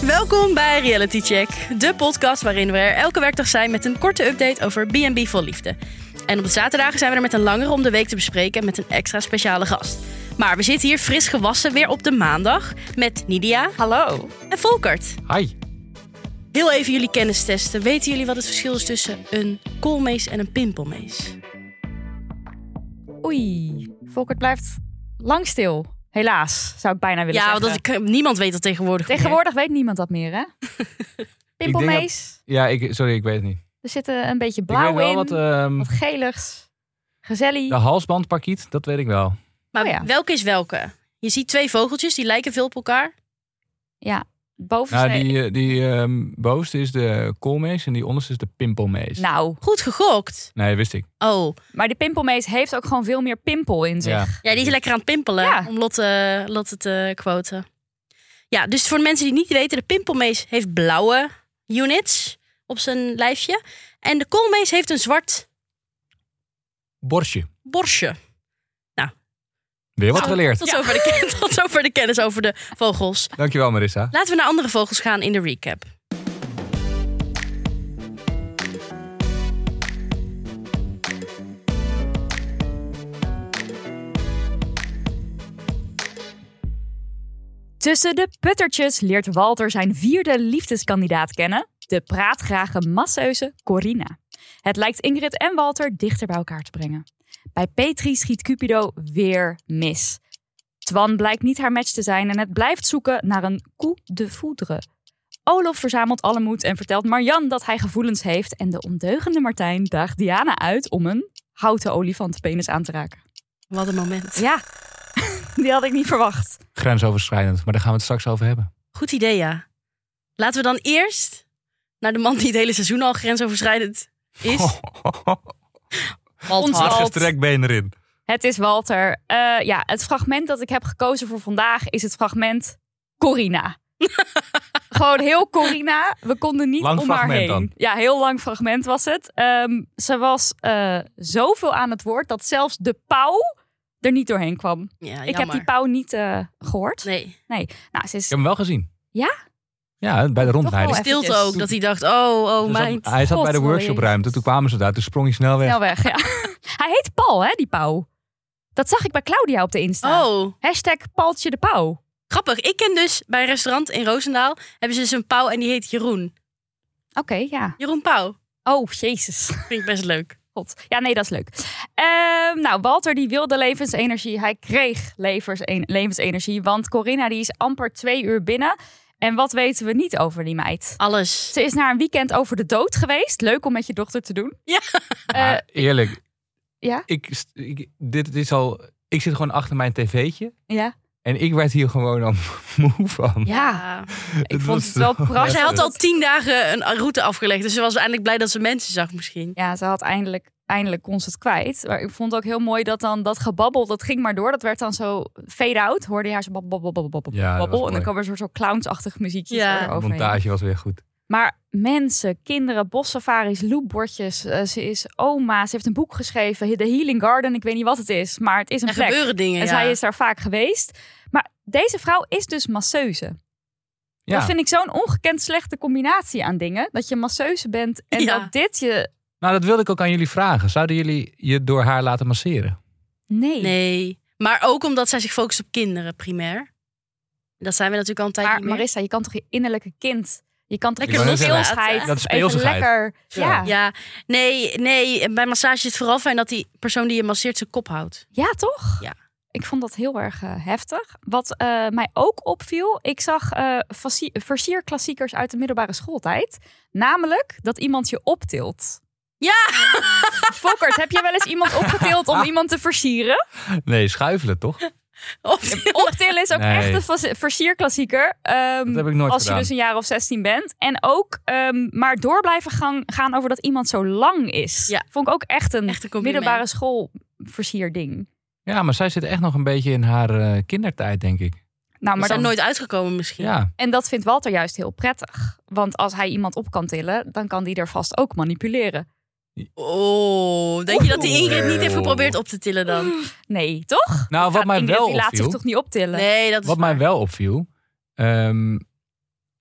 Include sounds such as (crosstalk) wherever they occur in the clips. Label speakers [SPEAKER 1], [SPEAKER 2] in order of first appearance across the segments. [SPEAKER 1] Welkom bij Reality Check, de podcast waarin we er elke werkdag zijn met een korte update over B&B vol liefde. En op de zaterdagen zijn we er met een langere om de week te bespreken met een extra speciale gast. Maar we zitten hier fris gewassen weer op de maandag met Nidia
[SPEAKER 2] Hallo.
[SPEAKER 1] en Volkert.
[SPEAKER 3] Hi.
[SPEAKER 1] Heel even jullie kennis testen. Weten jullie wat het verschil is tussen een koolmees en een pimpelmees?
[SPEAKER 2] Oei. Volkert blijft lang stil. Helaas, zou ik bijna willen
[SPEAKER 1] Ja,
[SPEAKER 2] zeggen.
[SPEAKER 1] want dat, ik- niemand weet dat tegenwoordig. meer.
[SPEAKER 2] Tegenwoordig weet niemand dat meer,
[SPEAKER 1] (laughs)
[SPEAKER 2] hè? Pimpelmees.
[SPEAKER 3] Ja, ik, sorry, ik weet het niet.
[SPEAKER 2] Er zitten een beetje
[SPEAKER 3] ik weet
[SPEAKER 2] blauw
[SPEAKER 3] wel
[SPEAKER 2] in,
[SPEAKER 3] wat ehm,
[SPEAKER 2] wat geligs. Gezellig.
[SPEAKER 3] de halsbandparkiet, dat weet ik wel.
[SPEAKER 1] Maar
[SPEAKER 2] Oh ja.
[SPEAKER 1] welke is welke? Je ziet twee vogeltjes, die lijken veel op elkaar.
[SPEAKER 2] Ja, bovenste.
[SPEAKER 3] Nou, die, eh, die ehm, bovenste is de koolmees en die onderste is de pimpelmees.
[SPEAKER 2] Nou,
[SPEAKER 1] Goed gegokt.
[SPEAKER 3] Nee, wist ik.
[SPEAKER 1] Oh,
[SPEAKER 2] maar die pimpelmees heeft ook gewoon veel meer pimpel in zich.
[SPEAKER 3] Ja.
[SPEAKER 1] ja, die is lekker aan het pimpelen.
[SPEAKER 2] Ja.
[SPEAKER 1] Om Lotte, Lotte te quoten. Ja, dus voor de mensen die het niet weten, de pimpelmees heeft blauwe units op zijn lijfje. En de koolmees heeft een zwart
[SPEAKER 3] Borstje.
[SPEAKER 1] borstje. Nou,
[SPEAKER 3] Weer
[SPEAKER 2] Oh,
[SPEAKER 3] wat
[SPEAKER 1] Zo,
[SPEAKER 3] geleerd.
[SPEAKER 1] Tot, zover de, (laughs) ken- tot zover de kennis over de vogels.
[SPEAKER 3] Dankjewel, Marissa.
[SPEAKER 1] Laten we naar andere vogels gaan in de recap.
[SPEAKER 2] Tussen de puttertjes leert Walter zijn vierde liefdeskandidaat kennen, de praatgrage masseuse Corina. Het lijkt Ingrid en Walter dichter bij elkaar te brengen. Bij Petri schiet Cupido weer mis. Twan blijkt niet haar match te zijn en het blijft zoeken naar een coup de foudre. Olof verzamelt alle moed en vertelt Marjan dat hij gevoelens heeft en de ondeugende Martijn daagt Diana uit om een houten olifantenpenis aan te raken.
[SPEAKER 1] Wat een moment.
[SPEAKER 2] Ja, (laughs) die had ik niet verwacht.
[SPEAKER 3] Grensoverschrijdend, maar daar gaan we het straks over hebben.
[SPEAKER 1] Goed idee, ja. Laten we dan eerst naar de man die het hele seizoen al grensoverschrijdend is.
[SPEAKER 3] Oh.
[SPEAKER 1] Waldhard.
[SPEAKER 2] Ons Wal- Halt.
[SPEAKER 3] strekbeen erin.
[SPEAKER 2] Het is Walter. Eh, ja, het fragment dat ik heb gekozen voor vandaag is het fragment
[SPEAKER 1] (laughs)
[SPEAKER 2] Corina. Gewoon heel Corina. We konden niet
[SPEAKER 3] Lang
[SPEAKER 2] om haar heen.
[SPEAKER 3] fragment dan.
[SPEAKER 2] Ja, heel lang fragment was het. Ehm, ze was eh, zoveel aan het woord dat zelfs de pauw er niet doorheen kwam.
[SPEAKER 1] Ja,
[SPEAKER 2] Ik heb die pauw niet eh, gehoord.
[SPEAKER 1] Nee,
[SPEAKER 2] Nou, ze is
[SPEAKER 3] Ik heb hem wel gezien.
[SPEAKER 2] Ja?
[SPEAKER 3] Ja, bij de rondleiding.
[SPEAKER 2] Toch
[SPEAKER 1] stilte
[SPEAKER 2] Eventjes.
[SPEAKER 1] ook. Dat hij dacht, oh, oh,
[SPEAKER 3] Ze zat-
[SPEAKER 1] mijn.
[SPEAKER 3] hij zat
[SPEAKER 2] God,
[SPEAKER 3] bij de
[SPEAKER 2] sorry.
[SPEAKER 3] workshopruimte. Toen kwamen ze daar. Toen sprong hij snel weg.
[SPEAKER 2] snel weg. Ja.
[SPEAKER 1] (laughs)
[SPEAKER 2] Hij heet Paul, hè, die pauw. Dat zag ik bij Claudia op de Insta.
[SPEAKER 1] Oh,
[SPEAKER 2] Hashtag Paltje de pauw.
[SPEAKER 1] grappig. Ik ken dus bij een restaurant in Roosendaal hebben ze dus een pauw en die heet Jeroen.
[SPEAKER 2] Oké, ja.
[SPEAKER 1] Jeroen Pauw.
[SPEAKER 2] Oh, jezus.
[SPEAKER 1] Vind ik best leuk.
[SPEAKER 2] God. Ja, nee, dat is leuk. Ehm, nou, Walter die wilde levensenergie. Hij kreeg levensen- levensenergie. Want Corinna die is amper twee uur binnen. En wat weten we niet over die meid?
[SPEAKER 1] Alles.
[SPEAKER 2] Ze is naar een weekend over de dood geweest. Leuk om met je dochter te doen.
[SPEAKER 1] Ja.
[SPEAKER 2] Eh,
[SPEAKER 3] Maar eerlijk.
[SPEAKER 2] ja?
[SPEAKER 3] Ik, st- ik- dit is al... Ik zit gewoon achter mijn tv'tje.
[SPEAKER 2] ja.
[SPEAKER 3] En ik werd hier gewoon al (laughs) moe van.
[SPEAKER 2] Ja. Ik
[SPEAKER 3] Het
[SPEAKER 2] vond
[SPEAKER 3] was
[SPEAKER 2] het wel
[SPEAKER 1] Maar
[SPEAKER 3] wel-
[SPEAKER 2] prachtig.
[SPEAKER 1] zij had al
[SPEAKER 2] dat-
[SPEAKER 1] tien dagen een route afgelegd. Dus ze was eindelijk blij dat ze mensen zag misschien.
[SPEAKER 2] Ja, ze had eindelijk, eindelijk kon ze het kwijt. Maar ik vond ook heel mooi dat dan dat gebabbel, dat ging maar door. Dat werd dan zo fade-out. Hoorde je haar zo babbel, babbel, babbel,
[SPEAKER 3] Ja, dat was
[SPEAKER 2] babbel. En dan
[SPEAKER 3] mooi.
[SPEAKER 2] kwam er een soort zo clownsachtig muziekje
[SPEAKER 1] Ja.
[SPEAKER 2] zo
[SPEAKER 3] De
[SPEAKER 2] eroverheen.
[SPEAKER 3] montage was weer goed.
[SPEAKER 2] Maar mensen, kinderen, bossafaris, loopbordjes. eh, ze is oma. Ze heeft een boek geschreven. The Healing Garden. Ik weet niet wat het is, maar het is een
[SPEAKER 1] Er
[SPEAKER 2] plek.
[SPEAKER 1] gebeuren dingen,
[SPEAKER 2] En
[SPEAKER 1] ja.
[SPEAKER 2] zij is daar vaak geweest. Maar deze vrouw is dus masseuse.
[SPEAKER 3] Ja,
[SPEAKER 2] Dat vind ik zo'n ongekend slechte combinatie aan dingen. Dat je masseuse bent en
[SPEAKER 1] Ja.
[SPEAKER 2] dat dit je...
[SPEAKER 3] nou dat wilde ik ook aan jullie vragen. Zouden jullie je door haar laten masseren?
[SPEAKER 2] Nee.
[SPEAKER 1] Nee. Maar ook omdat zij zich focust op kinderen primair. Dat zijn we natuurlijk al een tijd
[SPEAKER 2] Maar
[SPEAKER 1] niet meer.
[SPEAKER 2] Marissa, je kan toch je innerlijke kind... Je kan toch
[SPEAKER 1] Lekker
[SPEAKER 2] je
[SPEAKER 1] loslaten.
[SPEAKER 2] speelsheid...
[SPEAKER 3] Dat is
[SPEAKER 2] even
[SPEAKER 3] speelsigheid.
[SPEAKER 2] lekker...
[SPEAKER 3] Ja.
[SPEAKER 2] Ja. Ja.
[SPEAKER 1] Ja, nee, nee. Bij massage is het vooral fijn dat die persoon die je masseert zijn kop houdt.
[SPEAKER 2] toch?
[SPEAKER 1] Ja.
[SPEAKER 2] Ik vond dat heel erg eh, heftig. Wat eh, mij ook opviel, ik zag eh fassi- versierklassiekers uit de middelbare schooltijd. Namelijk dat iemand je optilt.
[SPEAKER 1] Ja!
[SPEAKER 2] (laughs) Fokkert, heb je wel eens iemand opgetild om iemand te versieren?
[SPEAKER 1] (laughs)
[SPEAKER 3] Nee, schuifelen toch?
[SPEAKER 1] Op
[SPEAKER 2] Optillen is ook
[SPEAKER 3] Nee.
[SPEAKER 2] echt een vas- versierklassieker. Ehm,
[SPEAKER 3] Dat heb ik nooit
[SPEAKER 2] als
[SPEAKER 3] gedaan.
[SPEAKER 2] je dus een jaar of 16 bent. En ook ehm, maar door blijven gaan, gaan over dat iemand zo lang is.
[SPEAKER 1] Ja.
[SPEAKER 2] Vond ik ook echt een,
[SPEAKER 1] Echt een compliment.
[SPEAKER 2] middelbare school versierding.
[SPEAKER 3] Ja, maar zij zit echt nog een beetje in haar eh, kindertijd, denk ik.
[SPEAKER 2] Nou,
[SPEAKER 1] maar
[SPEAKER 2] maar
[SPEAKER 1] dan
[SPEAKER 2] dan,
[SPEAKER 1] nooit uitgekomen misschien.
[SPEAKER 3] Ja,
[SPEAKER 2] en dat vindt Walter juist heel prettig. Want als hij iemand op kan tillen, dan kan die er vast ook manipuleren.
[SPEAKER 1] Oh, denk je dat die Ingrid niet heeft geprobeerd op te tillen dan?
[SPEAKER 2] Nee, toch?
[SPEAKER 3] nou wat
[SPEAKER 2] Ja,
[SPEAKER 3] mij
[SPEAKER 2] Ingrid,
[SPEAKER 3] wel
[SPEAKER 2] die laat zich
[SPEAKER 3] opviel.
[SPEAKER 2] toch niet optillen?
[SPEAKER 1] Nee, dat is
[SPEAKER 3] Wat mij
[SPEAKER 1] waar.
[SPEAKER 3] wel opviel. ehm,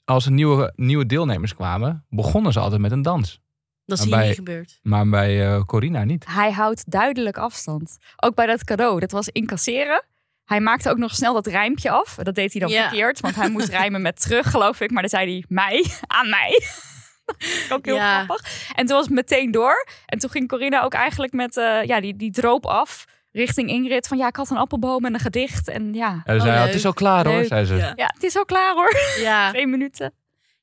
[SPEAKER 3] als er nieuwe, nieuwe deelnemers kwamen, begonnen ze altijd met een dans.
[SPEAKER 1] Dat
[SPEAKER 3] Maar
[SPEAKER 1] zie je
[SPEAKER 3] bij-
[SPEAKER 1] niet gebeurd.
[SPEAKER 3] Maar bij eh, Corina niet.
[SPEAKER 2] Hij houdt duidelijk afstand. Ook bij dat cadeau, dat was incasseren. Hij maakte ook nog snel dat rijmpje af. Dat deed hij dan
[SPEAKER 1] Ja.
[SPEAKER 2] verkeerd, want
[SPEAKER 1] (laughs)
[SPEAKER 2] hij moest rijmen met terug, geloof ik. Maar dan zei hij mij, (laughs) aan mij. ook heel
[SPEAKER 1] Ja.
[SPEAKER 2] grappig. En toen was het meteen door. En toen ging Corinna ook eigenlijk met, eh, ja, die, die droop af richting Ingrid. Van ja, ik had een appelboom en een gedicht. En ja,
[SPEAKER 3] En ze zei,
[SPEAKER 1] leuk.
[SPEAKER 3] het is al klaar hoor,
[SPEAKER 2] Oh, Leuk.
[SPEAKER 3] zei ze.
[SPEAKER 1] Ja.
[SPEAKER 2] ja het is al klaar hoor.
[SPEAKER 1] Ja.
[SPEAKER 2] (laughs) Twee minuten.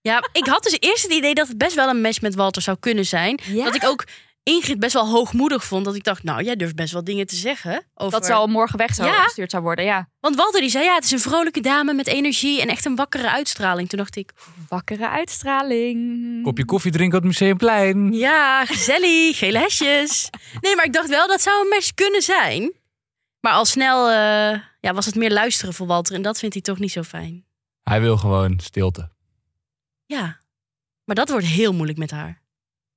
[SPEAKER 1] ja, ik had dus eerst het idee dat het best wel een match met Walter zou kunnen zijn.
[SPEAKER 2] Ja.
[SPEAKER 1] Dat ik ook Ingrid best wel hoogmoedig vond. Dat ik dacht, nou, jij durft best wel dingen te zeggen. Over...
[SPEAKER 2] Dat ze al morgen weg zou
[SPEAKER 1] Ja.
[SPEAKER 2] gestuurd zou worden. Ja,
[SPEAKER 1] Want Walter die zei, ja, het is een vrolijke dame met energie en echt een wakkere uitstraling. Toen dacht ik,
[SPEAKER 2] wakkere uitstraling.
[SPEAKER 3] Kopje koffie drinken op het Museumplein.
[SPEAKER 1] ja, gezellig, gele hesjes. Nee, maar ik dacht wel, dat zou een match kunnen zijn. Maar al snel eh, ja, was het meer luisteren voor Walter. En dat vindt hij toch niet zo fijn.
[SPEAKER 3] Hij wil gewoon stilte.
[SPEAKER 1] Ja, maar dat wordt heel moeilijk met haar.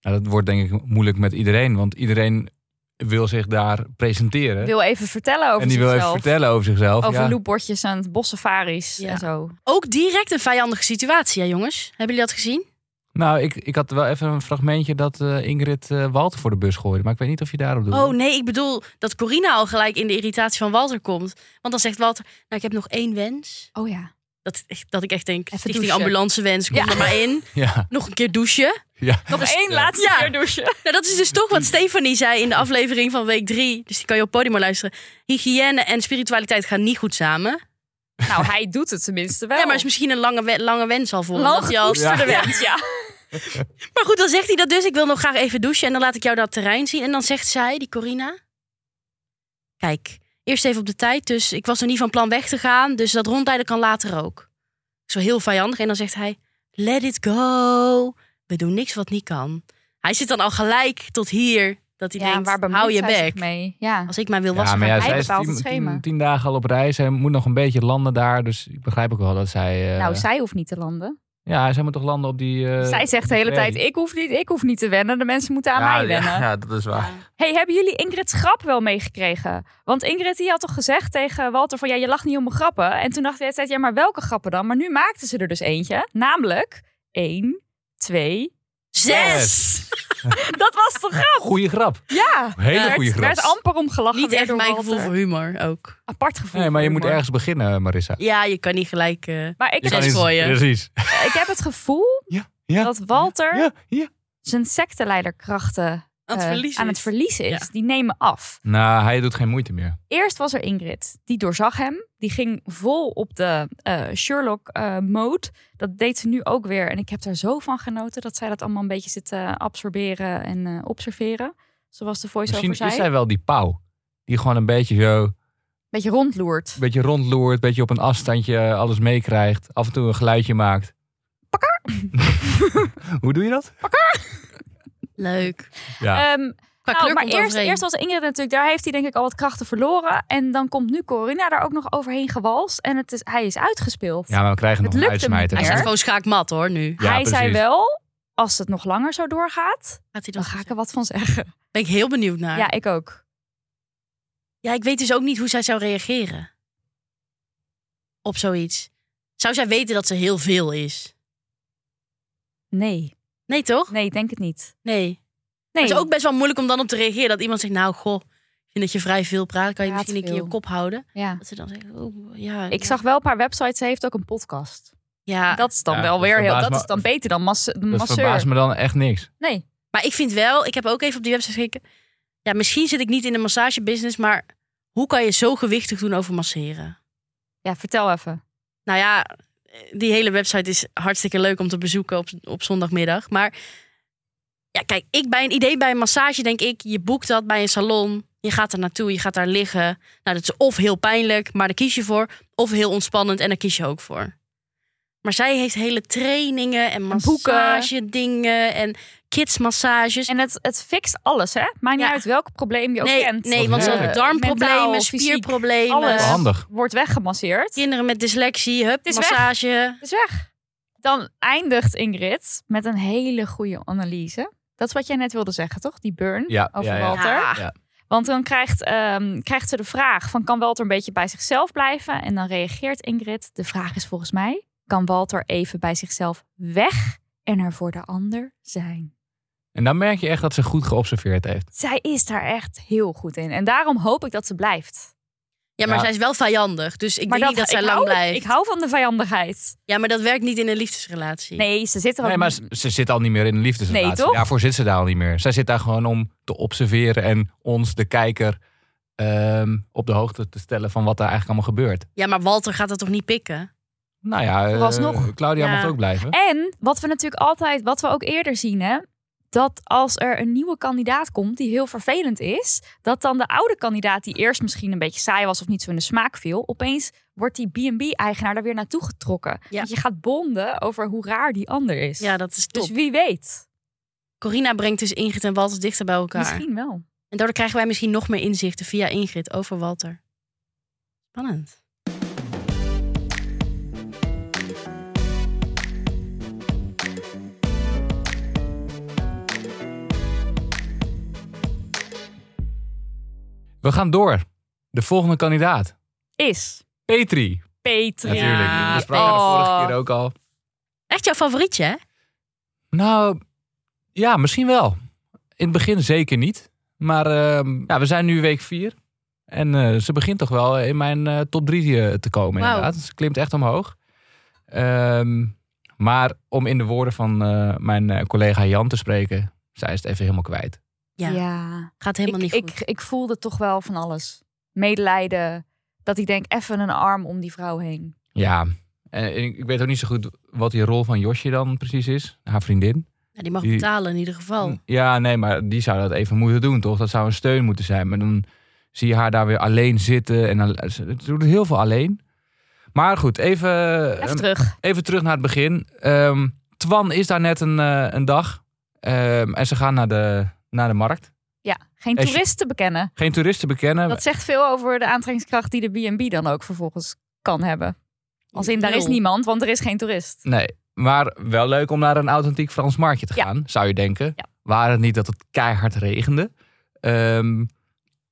[SPEAKER 3] Nou, dat wordt denk ik moeilijk met iedereen, want iedereen wil zich daar presenteren.
[SPEAKER 2] Wil even vertellen over
[SPEAKER 3] en die wil
[SPEAKER 2] zichzelf.
[SPEAKER 3] even vertellen over zichzelf.
[SPEAKER 2] Over
[SPEAKER 3] ja.
[SPEAKER 2] loopbordjes en bossafaris
[SPEAKER 1] Ja.
[SPEAKER 2] en zo.
[SPEAKER 1] Ook direct een vijandige situatie, hè jongens? Hebben jullie dat gezien?
[SPEAKER 3] Nou, ik, ik had wel even een fragmentje dat eh, Ingrid eh, Walter voor de bus gooide. Maar ik weet niet of je daarop
[SPEAKER 2] Mhm.
[SPEAKER 3] doet.
[SPEAKER 1] Oh nee, ik bedoel dat Corina al gelijk in de irritatie van Walter komt. Want dan zegt Walter, nou ik heb nog één wens.
[SPEAKER 2] Oh ja.
[SPEAKER 1] Dat, echt- dat ik echt denk,
[SPEAKER 2] Even
[SPEAKER 1] stichting
[SPEAKER 2] douchen.
[SPEAKER 1] ambulance wens, kom er maar
[SPEAKER 2] (laughs)
[SPEAKER 1] in.
[SPEAKER 3] Ja,
[SPEAKER 1] Nog een keer douchen.
[SPEAKER 3] ja.
[SPEAKER 2] Nog één laatste
[SPEAKER 1] Ja.
[SPEAKER 2] keer douchen.
[SPEAKER 1] Nou dat is dus toch wat Stefanie zei in de aflevering van week drie. Dus die kan je op podium luisteren. Hygiëne en spiritualiteit gaan niet goed samen.
[SPEAKER 2] (laughs) Nou, hij doet het tenminste wel.
[SPEAKER 1] Ja, maar is misschien een lange, we- lange wens al voor. hem,
[SPEAKER 2] lang
[SPEAKER 1] dat hij al-
[SPEAKER 2] gekoesterde
[SPEAKER 3] Ja.
[SPEAKER 2] wens, ja.
[SPEAKER 1] Maar goed, dan zegt hij dat dus. Ik wil nog graag even douchen en dan laat ik jou dat terrein zien. En dan zegt zij, die Corina... Kijk, eerst even op de tijd. Dus ik was nog niet van plan weg te gaan. Dus dat rondleiden kan later ook. Zo heel vijandig. En dan zegt hij, let it go. We doen niks wat niet kan. Hij zit dan al gelijk tot hier. Dat hij denkt,
[SPEAKER 2] waar bemoeit
[SPEAKER 1] hou je
[SPEAKER 2] zij zich
[SPEAKER 1] bek.
[SPEAKER 2] mee? Ja.
[SPEAKER 1] Als ik mij wil
[SPEAKER 3] ja
[SPEAKER 1] wassen,
[SPEAKER 3] maar
[SPEAKER 1] ga
[SPEAKER 3] ja,
[SPEAKER 1] ik-
[SPEAKER 2] hij
[SPEAKER 3] zij is
[SPEAKER 2] bepaalt
[SPEAKER 3] tien,
[SPEAKER 2] het schema.
[SPEAKER 3] tien- tien dagen al op reis. Zij moet nog een beetje landen daar. Dus ik begrijp ook wel dat zij... eh,
[SPEAKER 2] Nou, zij hoeft niet te landen.
[SPEAKER 3] Ja, zij moet toch landen op die... eh,
[SPEAKER 2] zij zegt de hele
[SPEAKER 3] ferry.
[SPEAKER 2] tijd, ik hoef, niet, ik hoef niet te wennen. De mensen moeten aan
[SPEAKER 3] ja,
[SPEAKER 2] mij wennen.
[SPEAKER 3] Ja, ja, dat is waar.
[SPEAKER 2] Hey, hebben jullie Ingrid's grap wel meegekregen? Want Ingrid die had toch gezegd tegen Walter van... ja, je lacht niet om mijn grappen. En toen dacht hij de hele tijd, ja, maar welke grappen dan? Maar nu maakten ze er dus eentje. Namelijk, één, twee... (laughs)
[SPEAKER 1] Zes!
[SPEAKER 2] Dat was de grap!
[SPEAKER 3] Nou, Goeie grap.
[SPEAKER 2] Ja!
[SPEAKER 3] Hele
[SPEAKER 2] Er
[SPEAKER 3] goede
[SPEAKER 2] werd-
[SPEAKER 3] grap.
[SPEAKER 2] werd amper om gelachen
[SPEAKER 1] Niet
[SPEAKER 2] weer
[SPEAKER 1] echt
[SPEAKER 2] door
[SPEAKER 1] mijn
[SPEAKER 2] Walter.
[SPEAKER 1] gevoel voor humor ook.
[SPEAKER 2] Apart gevoel.
[SPEAKER 3] Nee, maar je
[SPEAKER 2] voor
[SPEAKER 3] moet
[SPEAKER 2] humor.
[SPEAKER 3] ergens beginnen, Marissa.
[SPEAKER 1] Ja, je kan niet gelijk... eh,
[SPEAKER 2] Maar ik, dus
[SPEAKER 3] Je kan
[SPEAKER 1] Zes
[SPEAKER 3] niet-
[SPEAKER 1] gooien.
[SPEAKER 3] Precies.
[SPEAKER 2] ik heb het gevoel
[SPEAKER 3] Ja, ja.
[SPEAKER 2] dat Walter
[SPEAKER 3] Ja, ja.
[SPEAKER 2] zijn secteleiderkrachten
[SPEAKER 1] aan het
[SPEAKER 2] eh,
[SPEAKER 1] verliezen
[SPEAKER 2] aan het
[SPEAKER 1] is.
[SPEAKER 2] verliezen is.
[SPEAKER 1] Ja.
[SPEAKER 2] Die nemen af.
[SPEAKER 3] Nou, hij doet geen moeite meer.
[SPEAKER 2] Eerst was er Ingrid. Die doorzag hem. Die ging vol op de eh, Sherlock-mode. dat deed ze nu ook weer. En ik heb daar zo van genoten dat zij dat allemaal een beetje zit te absorberen en eh, observeren. Zoals de
[SPEAKER 3] Misschien
[SPEAKER 2] voice-over
[SPEAKER 3] is
[SPEAKER 2] zei.
[SPEAKER 3] hij wel die pauw. Die gewoon een beetje zo, een
[SPEAKER 2] Beetje rondloert.
[SPEAKER 3] beetje rondloert, een beetje op een afstandje eh, alles meekrijgt. Af en toe een geluidje maakt. Pakker! (laughs) Hoe doe je dat?
[SPEAKER 1] Leuk.
[SPEAKER 3] Ja.
[SPEAKER 2] Ehm,
[SPEAKER 1] Qua
[SPEAKER 2] Nou,
[SPEAKER 1] kleur
[SPEAKER 2] maar
[SPEAKER 1] komt
[SPEAKER 2] eerst,
[SPEAKER 1] overeen.
[SPEAKER 2] eerst was Ingrid natuurlijk, daar heeft hij denk ik al wat krachten verloren. En dan komt nu Corinna daar ook nog overheen gewalst. En het is, hij is uitgespeeld.
[SPEAKER 3] ja, maar we krijgen
[SPEAKER 2] het
[SPEAKER 3] nog een
[SPEAKER 2] lukt hem
[SPEAKER 3] uitsmijter.
[SPEAKER 1] Hij
[SPEAKER 2] niet
[SPEAKER 1] staat
[SPEAKER 2] meer.
[SPEAKER 1] gewoon schaakmat hoor, nu.
[SPEAKER 3] Ja,
[SPEAKER 2] hij zei
[SPEAKER 3] precies.
[SPEAKER 2] wel, als het nog langer zo doorgaat,
[SPEAKER 1] Gaat hij
[SPEAKER 2] dan
[SPEAKER 1] dat
[SPEAKER 2] ga ik er wat van zeggen.
[SPEAKER 1] Ben ik heel benieuwd naar.
[SPEAKER 2] Ja,
[SPEAKER 1] Ja.
[SPEAKER 2] ik ook.
[SPEAKER 1] ik weet dus ook niet hoe zij zou reageren. Op zoiets. Zou zij weten dat ze heel veel is?
[SPEAKER 2] Nee,
[SPEAKER 1] Nee, toch?
[SPEAKER 2] nee, ik denk het niet.
[SPEAKER 1] Nee.
[SPEAKER 2] Nee,
[SPEAKER 1] Het is ook best wel moeilijk om dan op te reageren. Dat iemand zegt, nou goh, ik vind dat je vrij veel praat. Kan je
[SPEAKER 2] Praat
[SPEAKER 1] misschien een keer
[SPEAKER 2] veel.
[SPEAKER 1] je kop houden?
[SPEAKER 2] ja.
[SPEAKER 1] Dat ze dan zeggen, oh ja.
[SPEAKER 2] Ik
[SPEAKER 1] ja.
[SPEAKER 2] zag wel een paar websites, ze heeft ook een podcast.
[SPEAKER 1] Ja,
[SPEAKER 2] dat is dan
[SPEAKER 3] Ja,
[SPEAKER 2] wel
[SPEAKER 3] dat
[SPEAKER 2] weer heel,
[SPEAKER 3] verbaast
[SPEAKER 2] dat
[SPEAKER 3] me-
[SPEAKER 2] is dan beter dan mas, de
[SPEAKER 3] Dat verbaast
[SPEAKER 2] masseur.
[SPEAKER 3] me dan echt niks.
[SPEAKER 2] Nee,
[SPEAKER 1] maar ik vind wel, ik heb ook even op die website gekeken. Ja, misschien zit ik niet in de massagebusiness, maar hoe kan je zo gewichtig doen over masseren?
[SPEAKER 2] ja, vertel even.
[SPEAKER 1] Nou ja, die hele website is hartstikke leuk om te bezoeken op, op zondagmiddag. Maar ja, kijk, ik bij een idee bij een massage denk ik, je boekt dat bij een salon. Je gaat er naartoe, je gaat daar liggen. Nou, dat is of heel pijnlijk, maar daar kies je voor. Of heel ontspannend en daar kies je ook voor. Maar zij heeft hele trainingen en
[SPEAKER 2] En boeken.
[SPEAKER 1] massagedingen en kidsmassages.
[SPEAKER 2] En het, het fixt alles, hè? Maakt niet
[SPEAKER 1] Ja.
[SPEAKER 2] uit welk probleem je ook
[SPEAKER 1] nee,
[SPEAKER 2] kent.
[SPEAKER 1] nee,
[SPEAKER 3] Wat
[SPEAKER 1] want ze
[SPEAKER 3] heerlijk.
[SPEAKER 1] had
[SPEAKER 2] Mentaal,
[SPEAKER 1] darmproblemen,
[SPEAKER 2] fysiek,
[SPEAKER 1] spierproblemen.
[SPEAKER 2] alles.
[SPEAKER 3] Wel handig.
[SPEAKER 2] Wordt weggemasseerd.
[SPEAKER 1] Kinderen met dyslexie, hup,
[SPEAKER 2] is weg.
[SPEAKER 1] massage.
[SPEAKER 2] is weg. Dan eindigt Ingrid met een hele goede analyse. Dat is wat jij net wilde zeggen, toch? Die burn
[SPEAKER 3] Ja,
[SPEAKER 2] over
[SPEAKER 3] ja, ja.
[SPEAKER 2] Walter.
[SPEAKER 1] Ja.
[SPEAKER 3] Ja.
[SPEAKER 2] Want dan krijgt, ehm, krijgt ze de vraag van kan Walter een beetje bij zichzelf blijven? En dan reageert Ingrid, de vraag is volgens mij, kan Walter even bij zichzelf weg en er voor de ander zijn.
[SPEAKER 3] En dan merk je echt dat ze goed geobserveerd heeft.
[SPEAKER 2] Zij is daar echt heel goed in. En daarom hoop ik dat ze blijft.
[SPEAKER 1] Ja, maar
[SPEAKER 3] Ja.
[SPEAKER 1] zij is wel vijandig. Dus ik
[SPEAKER 2] maar
[SPEAKER 1] denk niet dat zij
[SPEAKER 2] ik
[SPEAKER 1] lang
[SPEAKER 2] hou,
[SPEAKER 1] blijft.
[SPEAKER 2] Ik hou van de vijandigheid.
[SPEAKER 1] Ja, maar dat werkt niet in een liefdesrelatie.
[SPEAKER 2] Nee, ze zit er
[SPEAKER 3] Nee,
[SPEAKER 2] ook
[SPEAKER 3] maar
[SPEAKER 2] niet-
[SPEAKER 3] ze, ze zit al niet meer in een liefdesrelatie.
[SPEAKER 2] Nee, toch?
[SPEAKER 3] Daarvoor zit ze daar al niet meer. Zij zit daar gewoon om te observeren en ons, de kijker, ehm, op de hoogte te stellen van wat daar eigenlijk allemaal gebeurt.
[SPEAKER 1] Ja, maar Walter gaat dat toch niet pikken?
[SPEAKER 3] Nou ja, eh,
[SPEAKER 2] Vooralsnog.
[SPEAKER 3] Claudia
[SPEAKER 1] Ja.
[SPEAKER 3] mag ook blijven.
[SPEAKER 2] En wat we natuurlijk altijd, wat we ook eerder zien, hè, dat als er een nieuwe kandidaat komt die heel vervelend is, dat dan de oude kandidaat die eerst misschien een beetje saai was of niet zo in de smaak viel, opeens wordt die B&B-eigenaar er weer naartoe getrokken.
[SPEAKER 1] Ja.
[SPEAKER 2] Want je gaat bonden over hoe raar die ander is.
[SPEAKER 1] Ja, dat is top.
[SPEAKER 2] dus wie weet,
[SPEAKER 1] Corina brengt dus Ingrid en Walter dichter bij elkaar.
[SPEAKER 2] misschien wel.
[SPEAKER 1] En daardoor krijgen wij misschien nog meer inzichten via Ingrid over Walter. Spannend.
[SPEAKER 3] We gaan door. De volgende kandidaat.
[SPEAKER 2] Is
[SPEAKER 3] Petri.
[SPEAKER 2] Petri.
[SPEAKER 1] Ja, Oh.
[SPEAKER 3] Natuurlijk. We spraken
[SPEAKER 2] Petri.
[SPEAKER 3] de vorige keer ook al.
[SPEAKER 1] Echt jouw favorietje, hè?
[SPEAKER 3] Nou, ja, misschien wel. In het begin zeker niet. Maar ehm, ja, we zijn nu week vier. En eh, ze begint toch wel in mijn eh, top drie eh, te komen
[SPEAKER 1] Wauw.
[SPEAKER 3] inderdaad. Ze klimt echt omhoog. Ehm, maar om in de woorden van eh, mijn eh, collega Jan te spreken. Zij is het even helemaal kwijt.
[SPEAKER 1] Ja. Gaat helemaal niet
[SPEAKER 2] ik,
[SPEAKER 1] goed.
[SPEAKER 2] ik, ik voelde toch wel van alles. Medelijden, dat ik denk even een arm om die vrouw heen.
[SPEAKER 3] Ja, en ik ik weet ook niet zo goed wat die rol van Josje dan precies is. Haar vriendin.
[SPEAKER 1] Ja, die mag
[SPEAKER 3] die- Hmm.
[SPEAKER 1] betalen in ieder
[SPEAKER 2] Oh.
[SPEAKER 1] geval.
[SPEAKER 3] Ja, nee, maar die zou dat even moeten doen, toch? Dat zou een steun moeten zijn. Maar dan zie je haar daar weer alleen zitten. En dan, ze ze doet heel veel alleen. Maar goed, even,
[SPEAKER 2] Even
[SPEAKER 3] ehm,
[SPEAKER 2] terug.
[SPEAKER 3] even terug naar het begin. Ehm, Twan is daar net een, eh, een dag. Ehm, en ze gaan naar de, naar de markt.
[SPEAKER 2] Ja, geen
[SPEAKER 3] Als je-
[SPEAKER 2] toeristen bekennen.
[SPEAKER 3] Geen toeristen bekennen.
[SPEAKER 2] Dat zegt veel over de aantrekkingskracht die de B&B dan ook vervolgens kan hebben. Als in, daar is
[SPEAKER 1] Nul.
[SPEAKER 2] niemand, want er is geen toerist.
[SPEAKER 3] Nee, maar wel leuk om naar een authentiek Frans marktje te
[SPEAKER 2] Ja.
[SPEAKER 3] gaan, zou je denken.
[SPEAKER 2] Ja.
[SPEAKER 3] Waar het niet dat het keihard regende. Ehm,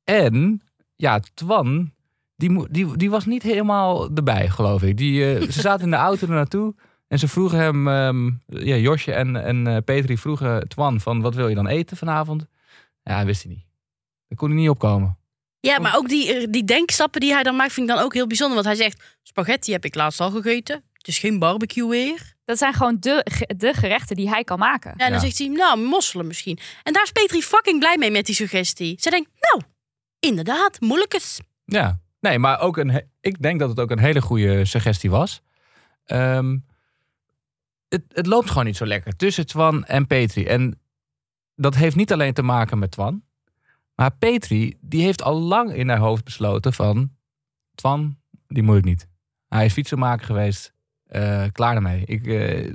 [SPEAKER 3] en, ja, Twan, die, mo- die, die was niet helemaal erbij, geloof ik. Die, eh, ze zaten in de auto er naartoe en ze vroegen hem, ehm, ja, Josje en, en eh, Petri vroegen Twan van wat wil je dan eten vanavond? Ja, dat wist hij niet. Daar kon hij niet opkomen.
[SPEAKER 1] Ja, maar ook die, eh, die denkstappen die hij dan maakt, vind ik dan ook heel bijzonder. Want hij zegt, spaghetti heb ik laatst al gegeten. Het is geen barbecue weer.
[SPEAKER 2] Dat zijn gewoon de, ge- de gerechten die hij kan maken.
[SPEAKER 1] Ja, en dan
[SPEAKER 3] Ja.
[SPEAKER 1] zegt hij, nou, mosselen misschien. En daar is Petri fucking blij mee met die suggestie. Ze denkt, nou, inderdaad, moeilijkes.
[SPEAKER 3] Ja, nee, maar ook een, he- ik denk dat het ook een hele goede suggestie was. Ehm, het, het loopt gewoon niet zo lekker tussen Twan en Petri. En dat heeft niet alleen te maken met Twan. Maar Petri, die heeft al lang in haar hoofd besloten van... Twan, die moet ik niet. Hij is fietsenmaker geweest. Eh, klaar ermee. Ik, eh,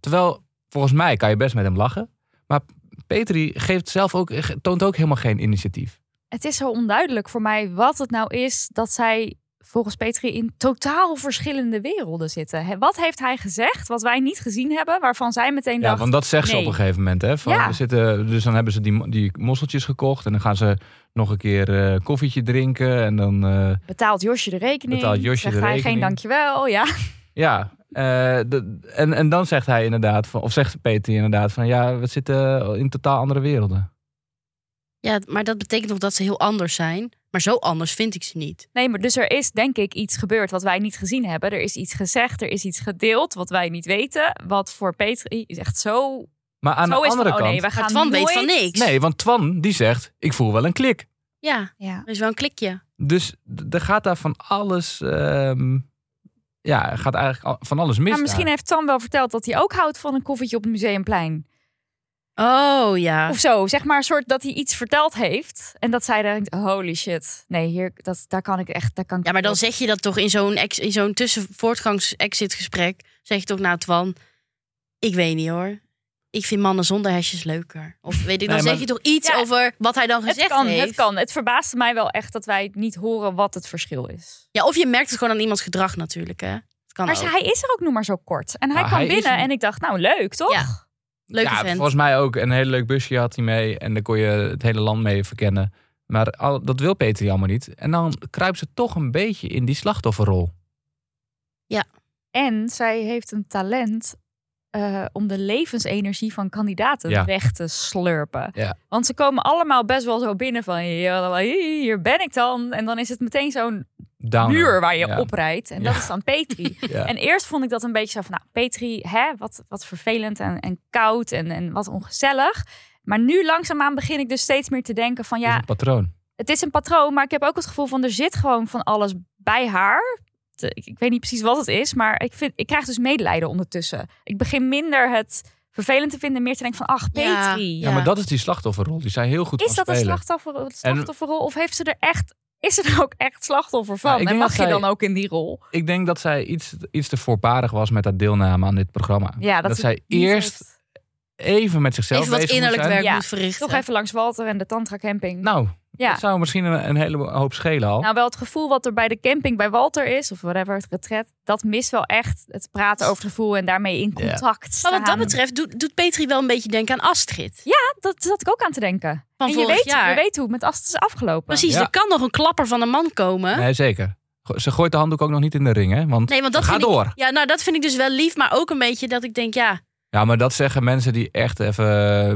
[SPEAKER 3] terwijl, volgens mij kan je best met hem lachen. Maar Petri geeft zelf ook, toont ook helemaal geen initiatief.
[SPEAKER 2] Het is zo onduidelijk voor mij wat het nou is dat zij volgens Petri in totaal verschillende werelden zitten. Hè, Wat heeft hij gezegd wat wij niet gezien hebben, waarvan zij meteen
[SPEAKER 3] Ja,
[SPEAKER 2] dacht...
[SPEAKER 3] want dat zegt ze
[SPEAKER 2] nee.
[SPEAKER 3] op een gegeven moment. Hè? Van,
[SPEAKER 2] Ja.
[SPEAKER 3] we zitten, dus dan hebben ze die, mo- die mosseltjes gekocht. En dan gaan ze nog een keer eh, koffietje drinken. En dan, eh,
[SPEAKER 2] Betaalt Josje de rekening?
[SPEAKER 3] Betaalt Josje
[SPEAKER 2] Zegt
[SPEAKER 3] de
[SPEAKER 2] hij geen
[SPEAKER 3] rekening?
[SPEAKER 2] dankjewel? Ja.
[SPEAKER 3] ja. eh, de- en, en dan zegt hij inderdaad, van, of zegt Peter inderdaad, van ja, we zitten in totaal andere werelden.
[SPEAKER 1] Ja, maar dat betekent nog dat ze heel anders zijn. Maar zo anders vind ik ze niet.
[SPEAKER 2] Nee, maar dus er is denk ik iets gebeurd wat wij niet gezien hebben. Er is iets gezegd, er is iets gedeeld wat wij niet weten. Wat voor Petri is echt zo.
[SPEAKER 3] Maar aan
[SPEAKER 2] zo
[SPEAKER 3] de
[SPEAKER 2] is
[SPEAKER 3] andere
[SPEAKER 2] van,
[SPEAKER 3] kant.
[SPEAKER 2] Oh nee, we
[SPEAKER 1] Maar
[SPEAKER 2] gaan
[SPEAKER 1] Twan
[SPEAKER 2] nooit...
[SPEAKER 1] weet van niks.
[SPEAKER 3] nee, want Twan die zegt, ik voel wel een klik.
[SPEAKER 1] Ja,
[SPEAKER 2] Ja.
[SPEAKER 1] er is wel een klikje.
[SPEAKER 3] Dus d- er gaat daar van alles, ehm, ja, er gaat eigenlijk al- van alles mis.
[SPEAKER 2] Maar misschien
[SPEAKER 3] daar.
[SPEAKER 2] heeft Twan wel verteld dat hij ook houdt van een koffietje op het museumplein.
[SPEAKER 1] Oh ja.
[SPEAKER 2] Of zo. Zeg maar een soort dat hij iets verteld heeft. En dat zij denkt: holy shit. Nee, hier, dat, daar kan ik echt. Daar kan ik
[SPEAKER 1] ja, maar dan zeg je dat toch in zo'n, ex, in zo'n tussenvoortgangs-exit-gesprek. Zeg je toch na Twan, ik weet niet hoor. Ik vind mannen zonder hesjes leuker. Of weet ik, dan
[SPEAKER 3] Nee, maar-
[SPEAKER 1] zeg je toch iets
[SPEAKER 2] Ja,
[SPEAKER 1] over wat hij dan
[SPEAKER 2] het
[SPEAKER 1] gezegd
[SPEAKER 2] kan,
[SPEAKER 1] heeft.
[SPEAKER 2] het kan. Het verbaasde mij wel echt dat wij niet horen wat het verschil is.
[SPEAKER 1] Ja, of je merkt het gewoon aan iemands gedrag natuurlijk, hè. Het kan
[SPEAKER 2] Maar
[SPEAKER 1] ook.
[SPEAKER 2] hij is er ook nog maar zo kort. En hij
[SPEAKER 3] Maar
[SPEAKER 2] kwam
[SPEAKER 3] hij is
[SPEAKER 2] binnen
[SPEAKER 3] een-
[SPEAKER 2] en ik dacht, nou leuk toch?
[SPEAKER 1] Ja. Leuke
[SPEAKER 3] ja,
[SPEAKER 1] vent.
[SPEAKER 3] volgens mij ook. Een hele leuk busje had hij mee. En daar kon je het hele land mee verkennen. Maar al, dat wil Peter allemaal niet. En dan kruipt ze toch een beetje in die slachtofferrol.
[SPEAKER 2] En zij heeft een talent eh, om de levensenergie van kandidaten
[SPEAKER 3] Ja.
[SPEAKER 2] weg te slurpen.
[SPEAKER 3] Ja.
[SPEAKER 2] Want ze komen allemaal best wel zo binnen van "Ja, hier ben ik dan. En dan is het meteen zo'n
[SPEAKER 3] Downer.
[SPEAKER 2] muur waar je
[SPEAKER 3] Ja.
[SPEAKER 2] oprijdt. En dat
[SPEAKER 3] Ja.
[SPEAKER 2] is dan
[SPEAKER 3] (laughs)
[SPEAKER 2] Petri.
[SPEAKER 3] Ja.
[SPEAKER 2] (laughs) En eerst vond ik dat een beetje zo van, nou, Petri, hè, wat, wat vervelend en, en koud en, en wat ongezellig. Maar nu langzaamaan begin ik dus steeds meer te denken van,
[SPEAKER 3] Dat is
[SPEAKER 2] ja,
[SPEAKER 3] een patroon.
[SPEAKER 2] het is een patroon, maar ik heb ook het gevoel van, er zit gewoon van alles bij haar. Te- Ik, ik weet niet precies wat het is, maar ik, vind, ik krijg dus medelijden ondertussen. Ik begin minder het vervelend te vinden, en meer te denken van, ach,
[SPEAKER 1] Ja.
[SPEAKER 2] Petri.
[SPEAKER 3] Ja.
[SPEAKER 1] Ja.
[SPEAKER 3] maar dat is die slachtofferrol. Die zij heel goed
[SPEAKER 2] Is
[SPEAKER 3] kan
[SPEAKER 2] dat een
[SPEAKER 3] spelen.
[SPEAKER 2] slachtoffer, slachtofferrol of heeft ze er echt... Is er ook echt slachtoffer van?
[SPEAKER 3] Nou, ik
[SPEAKER 2] en
[SPEAKER 3] denk
[SPEAKER 2] mag
[SPEAKER 3] dat
[SPEAKER 2] je
[SPEAKER 3] zij-
[SPEAKER 2] dan ook in die rol?
[SPEAKER 3] Ik denk dat zij iets, iets te voorparig was met haar deelname aan dit programma.
[SPEAKER 2] Ja, dat,
[SPEAKER 3] dat
[SPEAKER 2] ze
[SPEAKER 3] zij
[SPEAKER 2] het niet
[SPEAKER 3] eerst
[SPEAKER 2] heeft.
[SPEAKER 3] even met zichzelf
[SPEAKER 1] Even wat
[SPEAKER 3] bezig moet
[SPEAKER 1] innerlijk
[SPEAKER 3] zijn.
[SPEAKER 1] werk
[SPEAKER 2] Ja.
[SPEAKER 1] moet verrichten.
[SPEAKER 2] Toch even langs Walter en de Tantra Camping.
[SPEAKER 3] Nou,
[SPEAKER 2] ja.
[SPEAKER 3] dat zou misschien een, een hele hoop schelen al.
[SPEAKER 2] Nou, wel het gevoel wat er bij de camping bij Walter is, of whatever, het retret, dat mist wel echt het praten over het gevoel en daarmee in
[SPEAKER 3] Ja.
[SPEAKER 2] contact.
[SPEAKER 1] Maar wat dat
[SPEAKER 2] staan.
[SPEAKER 1] betreft doet, doet Petri wel een beetje denken aan Astrid.
[SPEAKER 2] dat zat ik ook aan te denken.
[SPEAKER 1] Van
[SPEAKER 2] en je
[SPEAKER 1] vorig
[SPEAKER 2] weet,
[SPEAKER 1] jaar.
[SPEAKER 2] je weet hoe het met Ast is afgelopen.
[SPEAKER 1] Precies,
[SPEAKER 3] Ja.
[SPEAKER 1] er kan nog een klapper van een man komen.
[SPEAKER 3] nee, zeker. Go- Ze gooit de handdoek ook nog niet in de ring, hè? Want,
[SPEAKER 1] Nee, want dat
[SPEAKER 3] ga
[SPEAKER 1] vind ik-
[SPEAKER 3] door.
[SPEAKER 1] Ja, nou dat vind ik dus wel lief, maar ook een beetje dat ik denk, ja,
[SPEAKER 3] Ja, maar dat zeggen mensen die echt even, eh,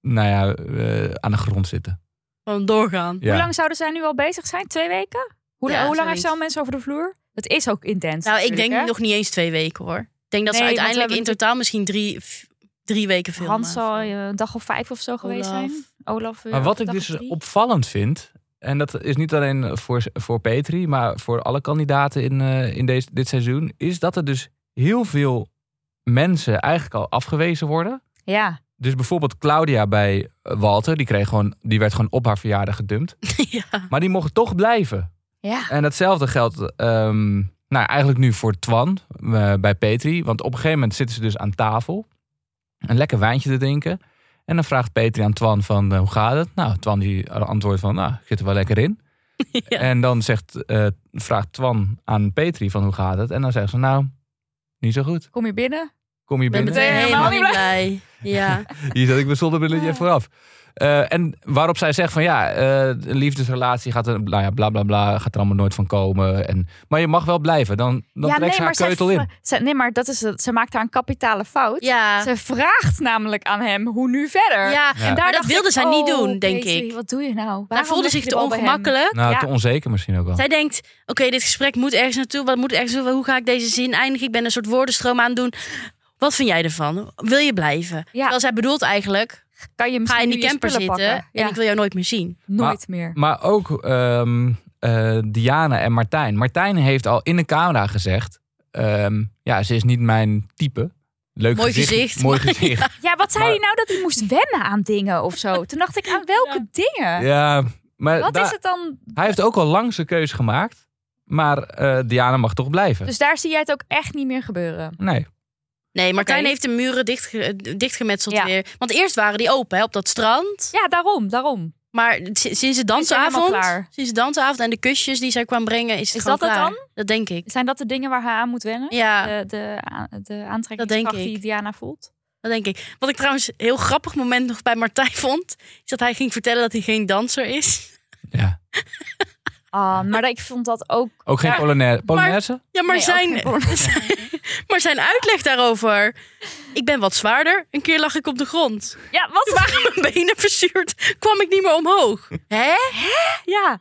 [SPEAKER 3] nou ja, eh, aan de grond zitten.
[SPEAKER 1] gewoon doorgaan.
[SPEAKER 3] Ja.
[SPEAKER 2] Hoe lang zouden zij nu al bezig zijn? Twee weken? Hoe,
[SPEAKER 1] Ja,
[SPEAKER 2] hoe lang
[SPEAKER 1] zoiets.
[SPEAKER 2] heeft ze al mensen over de vloer? Het is ook
[SPEAKER 1] Nou, ik
[SPEAKER 2] intens. natuurlijk,
[SPEAKER 1] denk
[SPEAKER 2] hè?
[SPEAKER 1] nog niet eens twee weken hoor. Ik denk dat ze
[SPEAKER 2] Nee, want we
[SPEAKER 1] uiteindelijk in
[SPEAKER 2] hebben
[SPEAKER 1] totaal misschien drie, f- drie weken filmen.
[SPEAKER 2] Hans zal eh, een dag of vijf of zo geweest
[SPEAKER 1] Olaf.
[SPEAKER 2] zijn. Olaf. ja,
[SPEAKER 3] maar wat
[SPEAKER 2] een
[SPEAKER 3] ik
[SPEAKER 2] dag
[SPEAKER 3] dus
[SPEAKER 2] of drie.
[SPEAKER 3] opvallend vind, en dat is niet alleen voor, voor Petri, maar voor alle kandidaten in, eh, in deze, dit seizoen, is dat er dus heel veel mensen eigenlijk al afgewezen worden.
[SPEAKER 2] Ja.
[SPEAKER 3] Dus bijvoorbeeld Claudia bij eh, Walter, die, kreeg gewoon, die werd gewoon op haar verjaardag gedumpt.
[SPEAKER 1] (laughs) ja.
[SPEAKER 3] Maar die mocht toch blijven.
[SPEAKER 2] Ja.
[SPEAKER 3] En datzelfde geldt ehm, nou, eigenlijk nu voor Twan eh, bij Petri. Want op een gegeven moment zitten ze dus aan tafel. Een lekker wijntje te drinken. En dan vraagt Petri aan Twan van eh, hoe gaat het? Nou, Twan die antwoordt van nou, ik zit er wel lekker in.
[SPEAKER 1] (laughs) Ja.
[SPEAKER 3] En dan zegt, eh, vraagt Twan aan Petri van hoe gaat het? En dan zegt ze nou, niet zo goed.
[SPEAKER 2] Kom je binnen?
[SPEAKER 3] Kom je
[SPEAKER 1] Ik ben
[SPEAKER 3] binnen?
[SPEAKER 1] meteen helemaal niet blij.
[SPEAKER 3] (laughs)
[SPEAKER 1] Ja.
[SPEAKER 3] Hier zet ik mijn zonnebrilletje even vooraf. Eh, en waarop zij zegt van ja, eh, een liefdesrelatie gaat er, nou ja, bla bla bla, gaat er allemaal nooit van komen. En, maar je mag wel blijven, dan, dan trekt ze haar
[SPEAKER 2] zij
[SPEAKER 3] keutel
[SPEAKER 2] vra-
[SPEAKER 3] in.
[SPEAKER 2] zij- nee, maar dat is het. Ze maakt daar een kapitale fout.
[SPEAKER 1] Ja.
[SPEAKER 2] Ze vraagt namelijk aan hem hoe nu
[SPEAKER 1] ja.
[SPEAKER 2] verder.
[SPEAKER 3] Ja.
[SPEAKER 1] Maar
[SPEAKER 2] Daar
[SPEAKER 1] dat
[SPEAKER 2] dacht
[SPEAKER 1] wilde
[SPEAKER 2] ik,
[SPEAKER 1] zij niet
[SPEAKER 2] oh,
[SPEAKER 1] doen, denk
[SPEAKER 2] Petri,
[SPEAKER 1] ik.
[SPEAKER 2] Wat doe je nou? Waarom
[SPEAKER 1] Hij voelde
[SPEAKER 2] leg je
[SPEAKER 1] zich
[SPEAKER 2] de
[SPEAKER 1] te
[SPEAKER 2] bal bij hem?
[SPEAKER 1] ongemakkelijk.
[SPEAKER 3] Nou,
[SPEAKER 2] Ja.
[SPEAKER 3] te onzeker misschien ook wel.
[SPEAKER 2] Oh.
[SPEAKER 1] Zij denkt, oké, dit gesprek moet ergens naartoe. Wat moet ergens naartoe? Hoe ga ik deze zin eindigen? Ik ben een soort woordenstroom aan het doen. Wat vind jij ervan? Wil je blijven? Terwijl zij bedoelt eigenlijk,
[SPEAKER 2] Kan je
[SPEAKER 1] ga
[SPEAKER 2] misschien
[SPEAKER 1] in die
[SPEAKER 2] nu je
[SPEAKER 1] camper
[SPEAKER 2] spullen
[SPEAKER 1] zitten
[SPEAKER 2] pakken? Ja,
[SPEAKER 1] en ik wil jou nooit meer zien.
[SPEAKER 2] nooit meer.
[SPEAKER 3] Maar ook ehm eh, Diana en Martijn. Martijn heeft al in de camera gezegd, ehm, ja, ze is niet mijn type. Leuk
[SPEAKER 1] Mooi
[SPEAKER 3] gezicht,
[SPEAKER 1] gezicht,
[SPEAKER 3] Mooi
[SPEAKER 1] maar-
[SPEAKER 3] gezicht.
[SPEAKER 2] (laughs) Ja, wat zei
[SPEAKER 3] Maar-
[SPEAKER 2] hij nou dat hij moest wennen aan dingen of zo? Toen dacht ik, aan welke dingen?
[SPEAKER 3] Ja, nou, maar
[SPEAKER 2] Wat
[SPEAKER 3] daar-
[SPEAKER 2] is het dan?
[SPEAKER 3] hij heeft ook al lang zijn keus gemaakt. Maar eh, Diana mag toch blijven.
[SPEAKER 2] Dus daar zie jij het ook echt niet meer gebeuren.
[SPEAKER 3] Nee.
[SPEAKER 1] Nee, Martijn
[SPEAKER 2] Oké.
[SPEAKER 1] heeft de muren dicht, dichtgemetseld
[SPEAKER 2] Ja.
[SPEAKER 1] weer. Want eerst waren die open hè, op dat strand.
[SPEAKER 2] Ja, daarom, daarom.
[SPEAKER 1] Maar si- sinds de
[SPEAKER 2] helemaal
[SPEAKER 1] dansavond,
[SPEAKER 2] klaar.
[SPEAKER 1] sinds de dansavond en de kusjes die zij kwam brengen, is het
[SPEAKER 2] Is
[SPEAKER 1] gewoon
[SPEAKER 2] dat het
[SPEAKER 1] klaar.
[SPEAKER 2] dan? Eh.
[SPEAKER 1] Dat denk ik.
[SPEAKER 2] Zijn dat de dingen waar hij aan moet wennen?
[SPEAKER 1] Ja,
[SPEAKER 2] De, de, a- de aantrekkingskracht
[SPEAKER 1] ik.
[SPEAKER 2] die Diana voelt?
[SPEAKER 1] dat denk ik. Wat ik trouwens een heel grappig moment nog bij Martijn vond, is dat hij ging vertellen dat hij geen danser is.
[SPEAKER 3] Ja.
[SPEAKER 2] Ah, maar ik vond dat ook...
[SPEAKER 3] Ook geen
[SPEAKER 1] Ja,
[SPEAKER 3] Polonaise. Polonaise?
[SPEAKER 1] Ja, maar,
[SPEAKER 2] Nee, ook
[SPEAKER 1] zijn,
[SPEAKER 2] geen porno.
[SPEAKER 1] (laughs) maar zijn uitleg daarover. Ik ben wat zwaarder. Een keer lag ik op de grond. (laughs)
[SPEAKER 2] Ja, wat?
[SPEAKER 1] Toen waren mijn benen verzuurd. Kwam ik niet meer omhoog. Hè? (laughs)
[SPEAKER 2] Ja.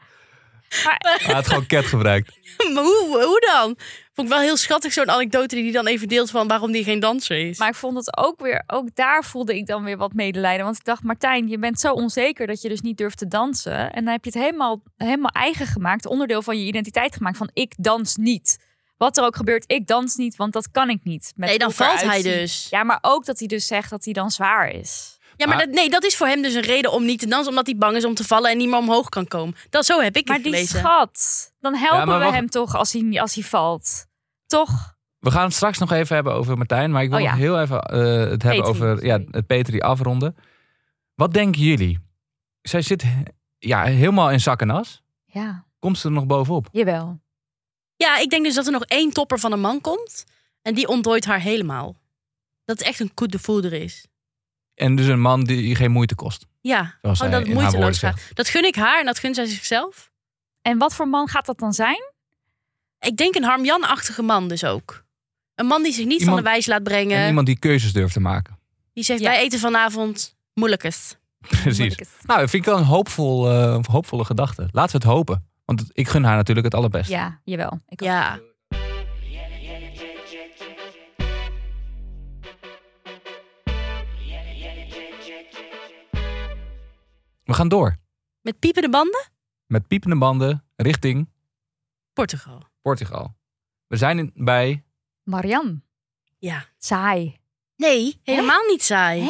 [SPEAKER 3] Hij had gewoon cat gebruikt.
[SPEAKER 1] Maar hoe, hoe dan? Vond ik wel heel schattig zo'n anekdote die hij dan even deelt van waarom die geen danser is.
[SPEAKER 2] Maar ik vond het ook weer, ook daar voelde ik dan weer wat medelijden. Want ik dacht, Martijn, je bent zo onzeker dat je dus niet durft te dansen. En dan heb je het helemaal, helemaal eigen gemaakt, onderdeel van je identiteit gemaakt. Van ik dans niet. Wat er ook gebeurt, ik dans niet, want dat kan ik niet. Met
[SPEAKER 1] nee, dan
[SPEAKER 2] hoe ik
[SPEAKER 1] valt
[SPEAKER 2] eruit
[SPEAKER 1] hij
[SPEAKER 2] zie.
[SPEAKER 1] dus.
[SPEAKER 2] Ja, maar ook dat hij dus zegt dat hij dan zwaar is.
[SPEAKER 1] Ja, maar
[SPEAKER 3] Maar-
[SPEAKER 1] dat, nee, dat is voor hem dus een reden om niet te dansen. Omdat hij bang is om te vallen en niet meer omhoog kan komen. Dat, zo heb ik
[SPEAKER 2] Maar
[SPEAKER 1] het
[SPEAKER 2] die
[SPEAKER 1] gelezen.
[SPEAKER 2] schat, dan helpen
[SPEAKER 3] Ja, maar
[SPEAKER 2] we
[SPEAKER 3] wacht.
[SPEAKER 2] hem toch als hij, als hij valt. Toch?
[SPEAKER 3] We gaan het straks nog even hebben over Martijn. Maar ik wil
[SPEAKER 2] Oh ja.
[SPEAKER 3] nog heel even eh, het hebben over
[SPEAKER 2] sorry.
[SPEAKER 3] ja, het Petri afronden. Wat denken jullie? Zij zit ja, helemaal in zak en as.
[SPEAKER 2] Ja,
[SPEAKER 3] Komt ze er nog bovenop?
[SPEAKER 2] jawel.
[SPEAKER 1] Ja, ik denk dus dat er nog één topper van een man komt. En die ontdooit haar helemaal. Dat het echt een coup de voerder is.
[SPEAKER 3] En dus een man die geen moeite kost.
[SPEAKER 1] Ja,
[SPEAKER 3] Zoals
[SPEAKER 1] oh,
[SPEAKER 3] zij
[SPEAKER 1] dat het
[SPEAKER 3] in haar woorden
[SPEAKER 1] moeiteloos
[SPEAKER 3] zegt.
[SPEAKER 1] gaat. Dat gun ik haar en dat gunt zij zichzelf.
[SPEAKER 2] En wat voor man gaat dat dan zijn?
[SPEAKER 1] Ik denk een Harmjan-achtige man dus ook. Een man die zich niet
[SPEAKER 3] Iemand-
[SPEAKER 1] van de wijs laat
[SPEAKER 3] En
[SPEAKER 1] brengen.
[SPEAKER 3] iemand die keuzes durft te maken. (laughs)
[SPEAKER 1] Die zegt,
[SPEAKER 2] Ja.
[SPEAKER 1] wij eten vanavond moeilijkes.
[SPEAKER 3] Precies.
[SPEAKER 2] Moeilijk is-
[SPEAKER 3] Nou, dat vind ik wel een hoopvol, eh, hoopvolle gedachte. Laten we het hopen. Want het- ik gun haar natuurlijk het allerbeste.
[SPEAKER 2] Ja, jawel. Ik ook.
[SPEAKER 1] Ja.
[SPEAKER 3] We gaan door.
[SPEAKER 1] Met piepende banden?
[SPEAKER 3] Met piepende banden richting
[SPEAKER 1] Portugal.
[SPEAKER 3] Portugal. We zijn in- bij...
[SPEAKER 2] Marianne,
[SPEAKER 1] Ja.
[SPEAKER 2] saai.
[SPEAKER 1] Nee, helemaal niet saai.
[SPEAKER 2] Hè?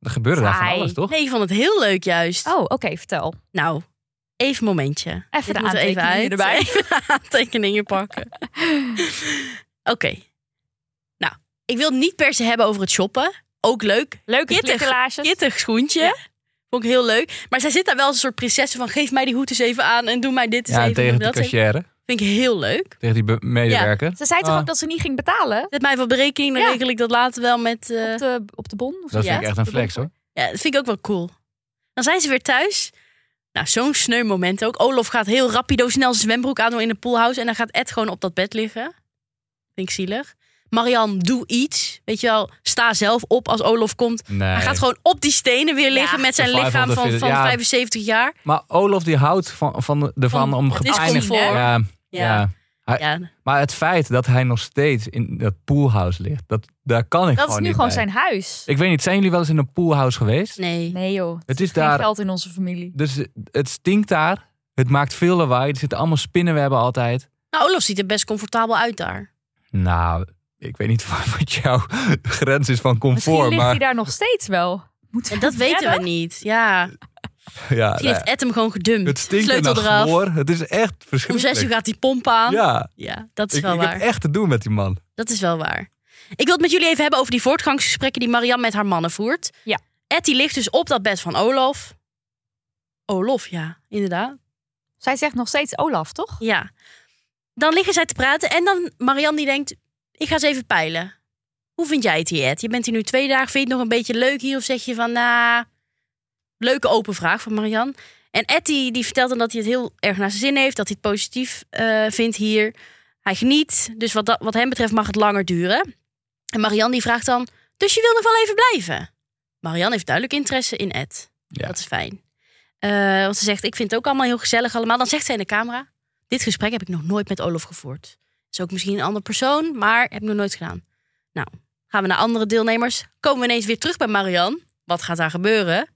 [SPEAKER 3] Er gebeurde daar van
[SPEAKER 2] Saai.
[SPEAKER 3] alles, toch?
[SPEAKER 1] Nee, ik vond het heel leuk juist.
[SPEAKER 2] Oh, oké, vertel.
[SPEAKER 1] Nou, even een momentje. Even
[SPEAKER 2] de aantekeningen erbij.
[SPEAKER 1] (laughs) Even de aantekeningen
[SPEAKER 2] (laughs)
[SPEAKER 1] pakken. Oké. Nou, ik wil het niet per se hebben over het shoppen. Ook leuk.
[SPEAKER 2] Leuke
[SPEAKER 1] Kittig.
[SPEAKER 2] glitterlaarsjes.
[SPEAKER 1] Kittig schoentje.
[SPEAKER 2] Ja.
[SPEAKER 1] Vond ik heel leuk. Maar zij zit daar wel als een soort prinsessen van... geef mij die hoed eens even aan en doe mij dit eens
[SPEAKER 3] Ja, en
[SPEAKER 1] even.
[SPEAKER 3] tegen
[SPEAKER 1] doe
[SPEAKER 3] die
[SPEAKER 1] dat even.
[SPEAKER 3] cashière.
[SPEAKER 1] Vind ik heel leuk.
[SPEAKER 3] Tegen die be- medewerker.
[SPEAKER 2] Ze zei toch
[SPEAKER 3] Ah.
[SPEAKER 2] ook dat ze niet ging betalen?
[SPEAKER 1] Zet mij even op de rekening, dan
[SPEAKER 2] Ja.
[SPEAKER 1] regel ik dat later wel met... eh,
[SPEAKER 2] Op de, op de bon? Of zo?
[SPEAKER 3] Dat
[SPEAKER 1] Ja,
[SPEAKER 3] vind ik echt een flex, hoor.
[SPEAKER 1] Ja, dat vind ik ook wel cool. Dan zijn ze weer thuis. Nou, zo'n sneu moment ook. Olaf gaat heel rapido snel zijn zwembroek aan doen in de poolhouse. En dan gaat Ed gewoon op dat bed liggen. Vind ik zielig. Marianne, doe iets. Weet je wel, sta zelf op als Olaf komt.
[SPEAKER 3] Nee.
[SPEAKER 1] Hij gaat gewoon op die stenen weer liggen
[SPEAKER 2] Ja.
[SPEAKER 1] met zijn
[SPEAKER 3] Survival
[SPEAKER 1] lichaam
[SPEAKER 3] of the
[SPEAKER 1] van,
[SPEAKER 3] fittest.
[SPEAKER 1] van
[SPEAKER 3] Ja.
[SPEAKER 1] 75 jaar.
[SPEAKER 3] Maar Olaf die houdt van, van, ervan
[SPEAKER 1] Van
[SPEAKER 3] om
[SPEAKER 1] is
[SPEAKER 3] gepijnigd...
[SPEAKER 1] comfort.
[SPEAKER 3] Ja, ja.
[SPEAKER 1] Ja. Ja,
[SPEAKER 3] Maar het feit dat hij nog steeds in dat poolhouse ligt... Dat, daar kan ik
[SPEAKER 2] Dat is
[SPEAKER 3] gewoon
[SPEAKER 2] nu
[SPEAKER 3] niet
[SPEAKER 2] gewoon
[SPEAKER 3] bij.
[SPEAKER 2] zijn huis.
[SPEAKER 3] Ik weet niet, zijn jullie wel eens in een poolhouse geweest?
[SPEAKER 1] nee.
[SPEAKER 2] Nee joh,
[SPEAKER 3] Het is
[SPEAKER 2] geen
[SPEAKER 3] daar
[SPEAKER 2] geld in onze familie.
[SPEAKER 3] Dus het stinkt daar. Het maakt veel lawaai. Er zitten allemaal spinnenwebben altijd.
[SPEAKER 1] Nou, Olaf ziet er best comfortabel uit daar.
[SPEAKER 3] Nou, ik weet niet (laughs) wat wat jouw grens is
[SPEAKER 2] Misschien
[SPEAKER 3] van comfort.
[SPEAKER 2] ligt hij
[SPEAKER 3] Maar
[SPEAKER 2] daar nog steeds wel. Moeten
[SPEAKER 1] En
[SPEAKER 2] we
[SPEAKER 1] dat (laughs)
[SPEAKER 2] hem
[SPEAKER 1] weten
[SPEAKER 2] bellen?
[SPEAKER 1] we niet. Ja, misschien
[SPEAKER 3] ja, nou
[SPEAKER 1] heeft Ed hem gewoon gedumpt.
[SPEAKER 3] ja. Ah, het stinkt en
[SPEAKER 1] Sleutel
[SPEAKER 3] dan
[SPEAKER 1] eraf.
[SPEAKER 3] chloor. Het is echt
[SPEAKER 1] Om
[SPEAKER 3] verschrikkelijk.
[SPEAKER 1] zes uur gaat die pomp aan. Ja,
[SPEAKER 3] Ja,
[SPEAKER 1] dat is
[SPEAKER 3] ik,
[SPEAKER 1] wel
[SPEAKER 3] ik
[SPEAKER 1] waar.
[SPEAKER 3] heb echt te doen met die man.
[SPEAKER 1] Dat is wel waar. Ik wil het met jullie even hebben over die voortgangsgesprekken die Marianne met haar mannen voert.
[SPEAKER 2] Ja.
[SPEAKER 1] Ed die ligt dus op dat bed van Olof. Olof, ja, inderdaad.
[SPEAKER 2] Zij zegt nog steeds Olaf, toch?
[SPEAKER 1] Ja. Dan liggen zij te praten en dan Marianne die denkt, ik ga eens even peilen. Hoe vind jij het hier, Ed? Je bent hier nu twee dagen, vind je het nog een beetje leuk hier? Of zeg je van, nou, leuke open vraag van Marianne. En Ed die, die vertelt dan dat hij het heel erg naar zijn zin heeft, dat hij het positief eh, vindt hier. Hij geniet, dus wat, dat, wat hem betreft mag het langer duren. En Marianne die vraagt dan, dus je wil nog wel even blijven? Marianne heeft duidelijk interesse in Ed.
[SPEAKER 3] Ja.
[SPEAKER 1] Dat is fijn. Eh, want ze zegt, ik vind het ook allemaal heel gezellig allemaal. Dan zegt zij in de camera, dit gesprek heb ik nog nooit met Olaf gevoerd. Is ook misschien een ander persoon, maar heb ik nog nooit gedaan. Nou, gaan we naar andere deelnemers. Komen we ineens weer terug bij Marianne. Wat gaat daar gebeuren?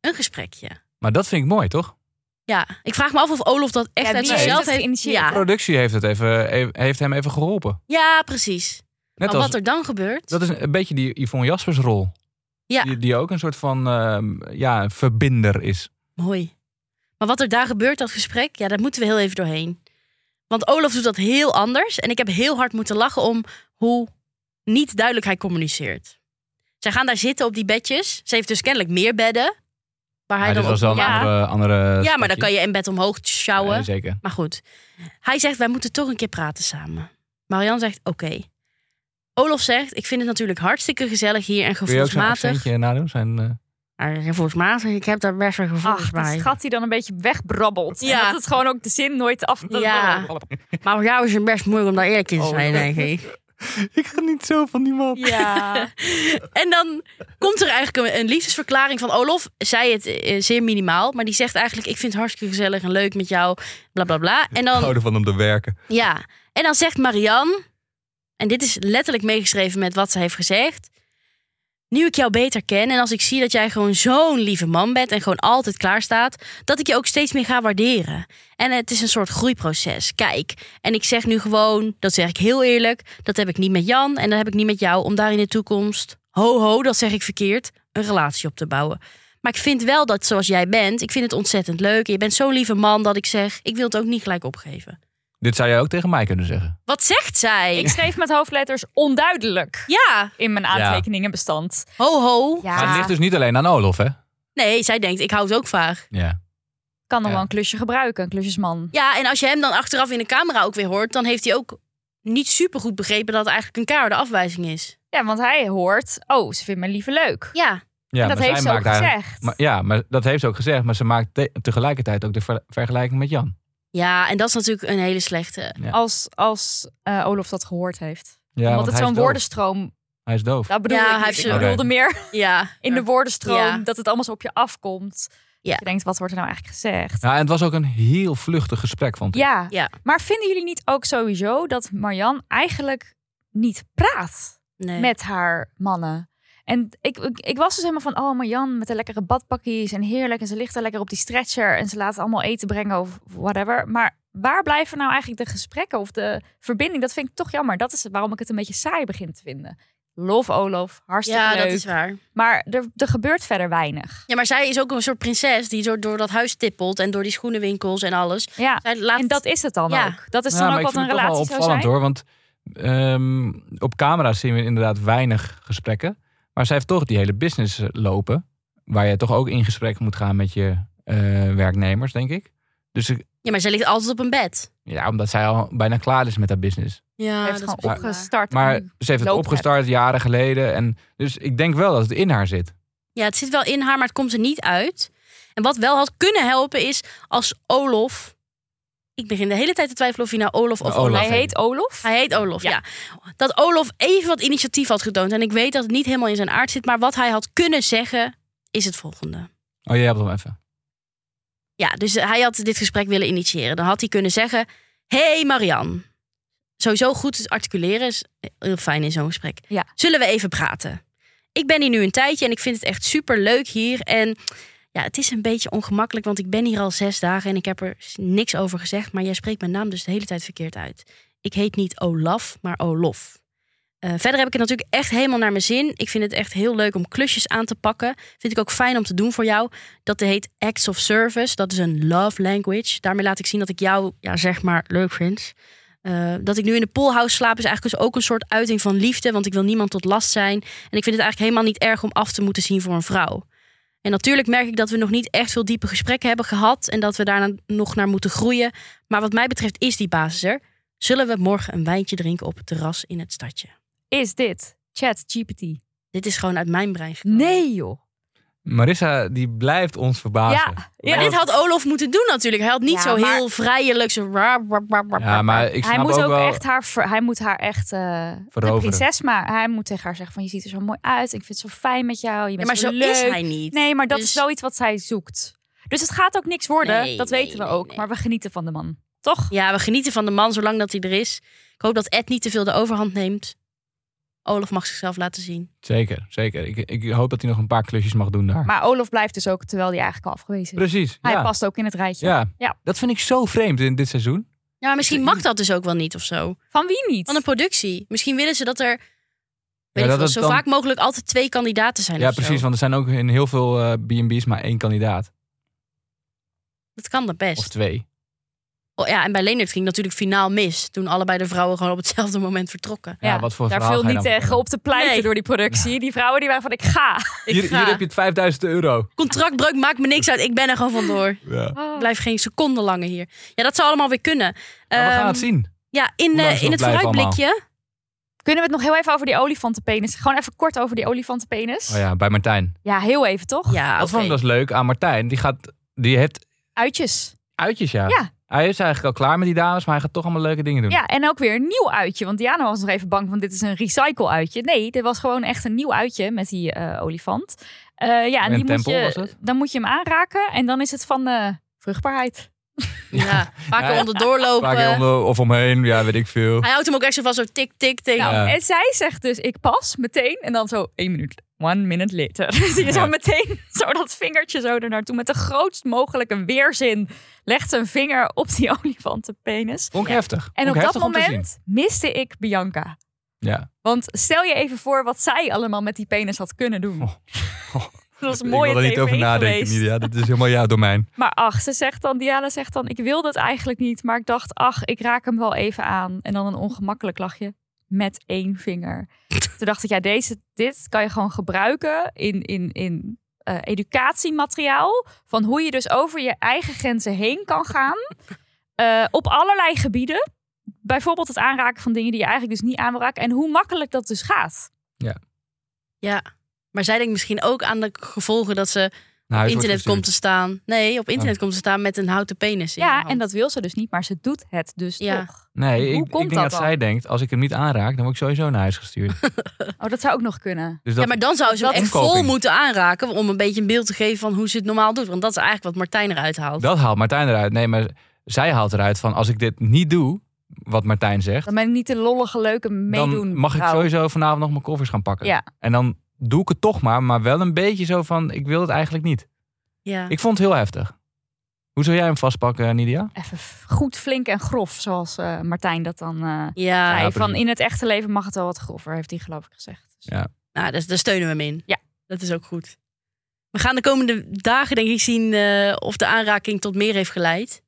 [SPEAKER 1] Een gesprekje.
[SPEAKER 3] Maar dat vind ik mooi, toch?
[SPEAKER 1] Ja, ik vraag me af of Olaf dat echt
[SPEAKER 2] Ja,
[SPEAKER 1] uit
[SPEAKER 2] wie
[SPEAKER 3] heeft
[SPEAKER 1] zichzelf
[SPEAKER 2] het
[SPEAKER 1] heeft.
[SPEAKER 2] geïnitieerd?
[SPEAKER 1] Ja,
[SPEAKER 3] Productie heeft, het even, he- heeft hem even geholpen.
[SPEAKER 1] ja, precies.
[SPEAKER 3] Net
[SPEAKER 1] maar
[SPEAKER 3] als,
[SPEAKER 1] Oh, wat er dan gebeurt.
[SPEAKER 3] Dat is een beetje die Yvonne Jaspers rol.
[SPEAKER 1] Ja.
[SPEAKER 3] Die, die ook een soort van ehm, ja, verbinder is.
[SPEAKER 1] Mooi. Maar wat er daar gebeurt, dat gesprek, ja, daar moeten we heel even doorheen. Want Olaf doet dat heel anders. En ik heb heel hard moeten lachen om hoe niet duidelijk hij communiceert. Zij gaan daar zitten op die bedjes. Ze heeft dus kennelijk meer bedden. Waar hij
[SPEAKER 3] Maar
[SPEAKER 1] dan
[SPEAKER 3] dit was
[SPEAKER 1] op-
[SPEAKER 3] dan een
[SPEAKER 1] ja,
[SPEAKER 3] andere, andere
[SPEAKER 1] ja, maar dan
[SPEAKER 3] stapje.
[SPEAKER 1] kan je in bed omhoog sjouwen.
[SPEAKER 3] Nee, zeker.
[SPEAKER 1] Maar goed, hij zegt: Wij moeten toch een keer praten samen. Marianne zegt: Oké. Olaf zegt: Ik vind het natuurlijk hartstikke gezellig hier en
[SPEAKER 3] Kun je ook zo'n
[SPEAKER 1] gevoelsmatig.
[SPEAKER 3] accentje nadoen? Zijn, eh, (laughs)
[SPEAKER 1] Maar gevoelsmatig, ik heb daar best wel gevoelens
[SPEAKER 2] Ach,
[SPEAKER 1] bij.
[SPEAKER 2] dat schat hij dan een beetje wegbrabbelt.
[SPEAKER 1] Ja.
[SPEAKER 2] En dat het gewoon ook de zin
[SPEAKER 1] (laughs)
[SPEAKER 2] nooit af... dat-
[SPEAKER 1] Ja. Maar voor jou is het best moeilijk om daar eerlijk in te zijn, denk ik.
[SPEAKER 3] Ik geniet zo van die man.
[SPEAKER 2] Ja.
[SPEAKER 1] (laughs) En dan komt er eigenlijk een, een liefdesverklaring van Olof. Zij het eh, zeer minimaal, maar die zegt eigenlijk: Ik vind het hartstikke gezellig en leuk met jou, bla bla bla. En
[SPEAKER 3] Ik
[SPEAKER 1] dan
[SPEAKER 3] hou ervan om te werken.
[SPEAKER 1] Ja, en dan zegt Marianne, en dit is letterlijk meegeschreven met wat ze heeft gezegd. Nu ik jou beter ken en als ik zie dat jij gewoon zo'n lieve man bent en gewoon altijd klaar staat, dat ik je ook steeds meer ga waarderen. En het is een soort groeiproces. Kijk, en ik zeg nu gewoon, dat zeg ik heel eerlijk, dat heb ik niet met Jan en dat heb ik niet met jou om daar in de toekomst, ho ho, dat zeg ik verkeerd, een relatie op te bouwen. Maar ik vind wel dat zoals jij bent, ik vind het ontzettend leuk. En je bent zo'n lieve man dat ik zeg, ik wil het ook niet gelijk opgeven.
[SPEAKER 3] Dit zou jij ook tegen mij kunnen zeggen.
[SPEAKER 1] Wat zegt zij?
[SPEAKER 2] (laughs) Ik schreef met hoofdletters onduidelijk
[SPEAKER 1] Ja,
[SPEAKER 2] in mijn aantekeningenbestand.
[SPEAKER 1] ho ho.
[SPEAKER 2] Ja,
[SPEAKER 3] Maar het ligt dus niet alleen aan Olof, hè?
[SPEAKER 1] Nee, zij denkt, ik hou het ook vaag.
[SPEAKER 3] Ja.
[SPEAKER 2] kan nog
[SPEAKER 3] Ja.
[SPEAKER 2] wel een klusje gebruiken, een klusjesman.
[SPEAKER 1] Ja, en als je hem dan achteraf in de camera ook weer hoort... dan heeft hij ook niet super goed begrepen dat het eigenlijk een keiharde afwijzing is.
[SPEAKER 2] Ja, want hij hoort, oh, ze vindt mijn lieve leuk.
[SPEAKER 1] Ja,
[SPEAKER 3] ja
[SPEAKER 2] en dat
[SPEAKER 3] maar
[SPEAKER 2] heeft
[SPEAKER 3] zij
[SPEAKER 2] ze ook
[SPEAKER 3] maakt eigenlijk-
[SPEAKER 2] gezegd.
[SPEAKER 3] Maar, ja, maar dat heeft ze ook gezegd. Maar ze maakt te- tegelijkertijd ook de ver- vergelijking met Jan.
[SPEAKER 1] ja en dat is natuurlijk een hele slechte.
[SPEAKER 3] Ja.
[SPEAKER 2] Als, als eh, Olof dat gehoord heeft.
[SPEAKER 3] Ja,
[SPEAKER 2] Omdat
[SPEAKER 3] want
[SPEAKER 2] het
[SPEAKER 3] hij is
[SPEAKER 2] zo'n
[SPEAKER 3] doof.
[SPEAKER 2] woordenstroom...
[SPEAKER 3] Hij is doof.
[SPEAKER 2] Dat bedoel
[SPEAKER 1] Ja,
[SPEAKER 2] ik
[SPEAKER 1] hij
[SPEAKER 2] niet.
[SPEAKER 1] heeft
[SPEAKER 2] Ik
[SPEAKER 3] ze-
[SPEAKER 2] bedoelde meer
[SPEAKER 1] Ja.
[SPEAKER 2] in de woordenstroom
[SPEAKER 1] Ja.
[SPEAKER 2] dat het allemaal zo op je afkomt.
[SPEAKER 1] Ja.
[SPEAKER 2] Dat je denkt, wat wordt er nou eigenlijk gezegd?
[SPEAKER 3] Ja, en het was ook een heel vluchtig gesprek, vond ik.
[SPEAKER 2] Ja.
[SPEAKER 1] Ja.
[SPEAKER 2] maar vinden jullie niet ook sowieso dat Marianne eigenlijk niet praat
[SPEAKER 1] Nee.
[SPEAKER 2] met haar mannen? En ik, ik, ik was dus helemaal van, oh Marianne met de lekkere badpakjes en heerlijk. En ze ligt daar lekker op die stretcher en ze laat allemaal eten brengen of whatever. Maar waar blijven nou eigenlijk de gesprekken of de verbinding? Dat vind ik toch jammer. Dat is waarom ik het een beetje saai begin te vinden. Love Olaf, hartstikke
[SPEAKER 1] ja,
[SPEAKER 2] leuk.
[SPEAKER 1] dat is waar.
[SPEAKER 2] Maar er, er gebeurt verder weinig.
[SPEAKER 1] Ja, maar zij is ook een soort prinses die door, door dat huis tippelt en door die schoenenwinkels en alles.
[SPEAKER 2] Ja.
[SPEAKER 1] Zij laat
[SPEAKER 2] En dat is het dan
[SPEAKER 1] Ja.
[SPEAKER 2] ook. Dat is
[SPEAKER 3] Ja,
[SPEAKER 2] dan
[SPEAKER 3] maar
[SPEAKER 2] ook wat
[SPEAKER 3] ik
[SPEAKER 2] een
[SPEAKER 3] vind het toch
[SPEAKER 2] relatie
[SPEAKER 3] wel
[SPEAKER 2] zou zijn.
[SPEAKER 3] opvallend hoor, want ehm, op camera zien we inderdaad weinig gesprekken. Maar zij heeft toch die hele business eh, lopen, waar je toch ook in gesprek moet gaan met je eh, werknemers, denk ik. Dus ik-
[SPEAKER 1] Ja, maar zij ligt altijd op een bed.
[SPEAKER 3] ja, omdat zij al bijna klaar is met haar business.
[SPEAKER 1] Ja,
[SPEAKER 2] Ze heeft
[SPEAKER 1] dat
[SPEAKER 2] gewoon
[SPEAKER 1] is waar.
[SPEAKER 2] opgestart.
[SPEAKER 3] Maar
[SPEAKER 2] en nu-
[SPEAKER 3] ze heeft het
[SPEAKER 2] loopt
[SPEAKER 3] opgestart jaren geleden. En dus ik denk wel dat het in haar zit.
[SPEAKER 1] Ja, het zit wel in haar, maar het komt er niet uit. En wat wel had kunnen helpen is als Olof. Ik begin de hele tijd te twijfelen of hij nou Olof of
[SPEAKER 3] Ja, Olaf.
[SPEAKER 1] Olaf.
[SPEAKER 2] Hij heet Olof.
[SPEAKER 1] Hij heet Olof, ja.
[SPEAKER 2] Ja.
[SPEAKER 1] Dat Olof even wat initiatief had getoond. En ik weet dat het niet helemaal in zijn aard zit. Maar wat hij had kunnen zeggen, is het volgende.
[SPEAKER 3] Oh, jij hebt hem even.
[SPEAKER 1] Ja, dus hij had dit gesprek willen initiëren. Dan had hij kunnen zeggen: hey Marianne. Sowieso goed articuleren is heel fijn in zo'n gesprek.
[SPEAKER 2] Ja.
[SPEAKER 1] Zullen we even praten? Ik ben hier nu een tijdje en ik vind het echt super leuk hier. En ja, het is een beetje ongemakkelijk, want ik ben hier al zes dagen en ik heb er s- niks over gezegd. Maar jij spreekt mijn naam dus de hele tijd verkeerd uit. Ik heet niet Olaf, maar Olof. Eh, verder heb ik het natuurlijk echt helemaal naar mijn zin. Ik vind het echt heel leuk om klusjes aan te pakken. Vind ik ook fijn om te doen voor jou. Dat heet acts of service. Dat is een love language. Daarmee laat ik zien dat ik jou, ja, zeg maar, leuk vind. Eh, dat ik nu in de poolhouse slaap is eigenlijk dus ook een soort uiting van liefde. Want ik wil niemand tot last zijn. En ik vind het eigenlijk helemaal niet erg om af te moeten zien voor een vrouw. En natuurlijk merk ik dat we nog niet echt veel diepe gesprekken hebben gehad. En dat we daarna nog naar moeten groeien. Maar wat mij betreft is die basis er. Zullen we morgen een wijntje drinken op het terras in het stadje?
[SPEAKER 2] Is dit Chat GPT?
[SPEAKER 1] Dit is gewoon uit mijn brein gekomen.
[SPEAKER 2] Nee joh.
[SPEAKER 3] Marissa, die blijft ons verbazen.
[SPEAKER 2] Ja.
[SPEAKER 1] Maar
[SPEAKER 2] ja.
[SPEAKER 1] dit had Olof moeten doen natuurlijk. Hij had niet
[SPEAKER 2] Ja,
[SPEAKER 1] zo
[SPEAKER 2] maar-
[SPEAKER 1] heel vrijelijk zo... raar, raar, raar, raar,
[SPEAKER 3] Ja, maar ik snap
[SPEAKER 2] Hij moet ook,
[SPEAKER 3] wel...
[SPEAKER 2] echt haar, ver- hij moet haar echt eh de
[SPEAKER 3] Veroveren.
[SPEAKER 2] prinses, maar hij moet tegen haar zeggen van je ziet er zo mooi uit. Ik vind het zo fijn met jou. Je
[SPEAKER 1] Ja,
[SPEAKER 2] bent
[SPEAKER 1] maar zo
[SPEAKER 2] leuk.
[SPEAKER 1] is hij niet.
[SPEAKER 2] Nee, maar dat
[SPEAKER 1] Dus-
[SPEAKER 2] is wel iets wat zij zoekt. Dus het gaat ook niks worden.
[SPEAKER 1] Nee,
[SPEAKER 2] dat
[SPEAKER 1] nee,
[SPEAKER 2] weten we
[SPEAKER 1] nee,
[SPEAKER 2] ook.
[SPEAKER 1] nee.
[SPEAKER 2] Maar we genieten van de man. Toch?
[SPEAKER 1] Ja, we genieten van de man zolang dat hij er is. Ik hoop dat Ed niet te veel de overhand neemt. Olaf mag zichzelf laten zien.
[SPEAKER 3] Zeker, zeker. Ik, ik hoop dat hij nog een paar klusjes mag doen daar.
[SPEAKER 2] Maar Olof blijft dus ook terwijl hij eigenlijk al afgewezen is.
[SPEAKER 3] Precies.
[SPEAKER 2] Hij
[SPEAKER 3] ja.
[SPEAKER 2] past ook in het rijtje.
[SPEAKER 3] Ja.
[SPEAKER 2] Ja.
[SPEAKER 3] dat vind ik zo vreemd in dit seizoen.
[SPEAKER 1] Ja, maar misschien mag dat dus ook wel niet of zo.
[SPEAKER 2] Van wie niet?
[SPEAKER 1] Van een productie. Misschien willen ze dat er weet
[SPEAKER 3] dat
[SPEAKER 1] ik veel,
[SPEAKER 3] het
[SPEAKER 1] zo
[SPEAKER 3] dan-
[SPEAKER 1] vaak mogelijk altijd twee kandidaten zijn.
[SPEAKER 3] Ja,
[SPEAKER 1] of zo.
[SPEAKER 3] precies. Want er zijn ook in heel veel eh, B&B's maar één kandidaat.
[SPEAKER 1] Dat kan dat best.
[SPEAKER 3] Of twee.
[SPEAKER 1] Oh, ja, en bij Leonard ging natuurlijk finaal mis. Toen allebei de vrouwen gewoon op hetzelfde moment vertrokken.
[SPEAKER 3] Ja, wat voor
[SPEAKER 2] daar
[SPEAKER 3] verhaal
[SPEAKER 2] viel
[SPEAKER 3] ga je
[SPEAKER 2] niet
[SPEAKER 3] dan
[SPEAKER 2] tegen op te pleiten
[SPEAKER 1] Nee.
[SPEAKER 2] door die productie. Die vrouwen die waren van ik ga.
[SPEAKER 1] Ik
[SPEAKER 3] Hier,
[SPEAKER 1] ga.
[SPEAKER 3] hier heb je het 5000 euro.
[SPEAKER 1] Contractbreuk maakt me niks uit. Ik ben er gewoon vandoor.
[SPEAKER 3] Ja. Nou,
[SPEAKER 2] Oh.
[SPEAKER 1] Ik blijf geen seconde langer hier. Ja, dat zou allemaal weer kunnen.
[SPEAKER 3] we gaan
[SPEAKER 1] Ehm,
[SPEAKER 3] het zien.
[SPEAKER 1] Ja, in,
[SPEAKER 3] lang
[SPEAKER 1] eh,
[SPEAKER 3] ze
[SPEAKER 1] in
[SPEAKER 3] nog
[SPEAKER 1] het
[SPEAKER 3] blijven
[SPEAKER 1] vooruitblikje.
[SPEAKER 2] Kunnen we het nog heel even over die olifantenpenis? Gewoon even kort over die olifantenpenis.
[SPEAKER 3] Oh ja, bij Martijn.
[SPEAKER 2] Ja, heel even toch?
[SPEAKER 1] Ja,
[SPEAKER 3] Dat vond
[SPEAKER 1] oké.
[SPEAKER 3] ik dus leuk aan Martijn. Die, gaat, die heeft
[SPEAKER 2] Uitjes.
[SPEAKER 3] uitjes, ja.
[SPEAKER 2] Ja.
[SPEAKER 3] Hij is eigenlijk al klaar met die dames, maar hij gaat toch allemaal leuke dingen doen.
[SPEAKER 2] Ja, en ook weer een nieuw uitje. Want Diana was nog even bang van dit is een recycle uitje. Nee, dit was gewoon echt een nieuw uitje met die eh, olifant. Eh, ja, en
[SPEAKER 3] Een
[SPEAKER 2] die moet
[SPEAKER 3] tempel
[SPEAKER 2] je,
[SPEAKER 3] was het?
[SPEAKER 2] dan moet je hem aanraken en dan is het van eh, vruchtbaarheid.
[SPEAKER 1] Ja, vaak er
[SPEAKER 3] Ja.
[SPEAKER 1] onderdoor
[SPEAKER 3] Vaak
[SPEAKER 2] eh,
[SPEAKER 3] heel
[SPEAKER 1] lopen.
[SPEAKER 3] onder- of omheen, ja, weet ik veel.
[SPEAKER 1] Hij houdt hem ook echt zo vast, zo tik, tik, tik.
[SPEAKER 2] Nou,
[SPEAKER 3] Ja.
[SPEAKER 2] En zij zegt dus ik pas meteen en dan zo één minuut. One minute later. (laughs) Zie je zo
[SPEAKER 3] Ja.
[SPEAKER 2] meteen zo dat vingertje zo er naartoe. Met de grootst mogelijke weerzin legt ze een vinger op die (laughs) olifantenpenis.
[SPEAKER 3] Vond ik
[SPEAKER 1] Ja.
[SPEAKER 3] heftig. Vond
[SPEAKER 2] En
[SPEAKER 3] ik
[SPEAKER 2] op dat
[SPEAKER 3] heftig om te zien.
[SPEAKER 2] moment miste ik Bianca.
[SPEAKER 3] Ja.
[SPEAKER 2] Want stel je even voor wat zij allemaal met die penis had kunnen doen.
[SPEAKER 3] Oh. Oh.
[SPEAKER 2] (laughs) Dat was een
[SPEAKER 3] Ik
[SPEAKER 2] mooie
[SPEAKER 3] wil er niet
[SPEAKER 2] TV
[SPEAKER 3] over nadenken,
[SPEAKER 2] geweest.
[SPEAKER 3] Nidia. Dit is helemaal jouw domein.
[SPEAKER 2] Maar ach, ze zegt dan, Diana zegt dan, ik wilde het eigenlijk niet. Maar ik dacht, ach, ik raak hem wel even aan. En dan een ongemakkelijk lachje met één
[SPEAKER 3] (laughs)
[SPEAKER 2] vinger. Toen dacht ik, ja, deze, dit kan je gewoon gebruiken in, in, in eh, educatiemateriaal. Van hoe je dus over je eigen grenzen heen kan gaan.
[SPEAKER 3] (laughs)
[SPEAKER 2] eh, op allerlei gebieden. Bijvoorbeeld het aanraken van dingen die je eigenlijk dus niet aan wil raken. En hoe makkelijk dat dus gaat.
[SPEAKER 1] Ja. Maar zij denkt misschien ook aan de gevolgen dat ze
[SPEAKER 3] naar huis wordt
[SPEAKER 1] internet
[SPEAKER 3] gestuurd.
[SPEAKER 1] komt te staan. Nee, op internet komt te staan met een houten penis. In
[SPEAKER 2] Ja,
[SPEAKER 1] haar hand.
[SPEAKER 2] en dat wil ze dus niet, maar ze doet het dus
[SPEAKER 1] Ja.
[SPEAKER 2] toch.
[SPEAKER 3] Nee,
[SPEAKER 2] Hoe
[SPEAKER 3] ik,
[SPEAKER 2] komt
[SPEAKER 3] ik denk
[SPEAKER 2] dat
[SPEAKER 3] dat,
[SPEAKER 2] dan?
[SPEAKER 3] zij denkt, als ik hem niet aanraak, dan word ik sowieso naar huis gestuurd.
[SPEAKER 2] (laughs) Oh, dat zou ook nog kunnen.
[SPEAKER 3] Dus dat,
[SPEAKER 1] ja, maar dan zou ze hem
[SPEAKER 2] dat-
[SPEAKER 1] echt vol
[SPEAKER 3] Omkoping.
[SPEAKER 1] moeten aanraken om een beetje een beeld te geven van hoe ze het normaal doet. Want dat is eigenlijk wat Martijn eruit haalt.
[SPEAKER 3] dat haalt Martijn eruit. Nee, maar zij haalt eruit van, als ik dit niet doe, wat Martijn zegt,
[SPEAKER 2] Dan ben ik niet de lollige leuke meedoen.
[SPEAKER 3] dan mag ik
[SPEAKER 2] vrouw.
[SPEAKER 3] sowieso vanavond nog mijn koffers gaan pakken.
[SPEAKER 2] Ja.
[SPEAKER 3] En dan doe ik het toch maar, maar wel een beetje zo van, ik wil het eigenlijk niet.
[SPEAKER 1] Ja.
[SPEAKER 3] Ik vond het heel heftig. Hoe zou jij hem vastpakken, Nidia?
[SPEAKER 2] Even f- goed flink en grof, zoals eh, Martijn dat dan eh,
[SPEAKER 1] ja,
[SPEAKER 2] zei.
[SPEAKER 3] precies.
[SPEAKER 2] Van in het echte leven mag het wel wat grover, heeft hij geloof ik gezegd. Dus-
[SPEAKER 3] Ja.
[SPEAKER 1] Nou, daar, daar steunen we hem in.
[SPEAKER 2] Ja.
[SPEAKER 1] Dat is ook goed. We gaan de komende dagen denk ik zien eh, of de aanraking tot meer heeft geleid.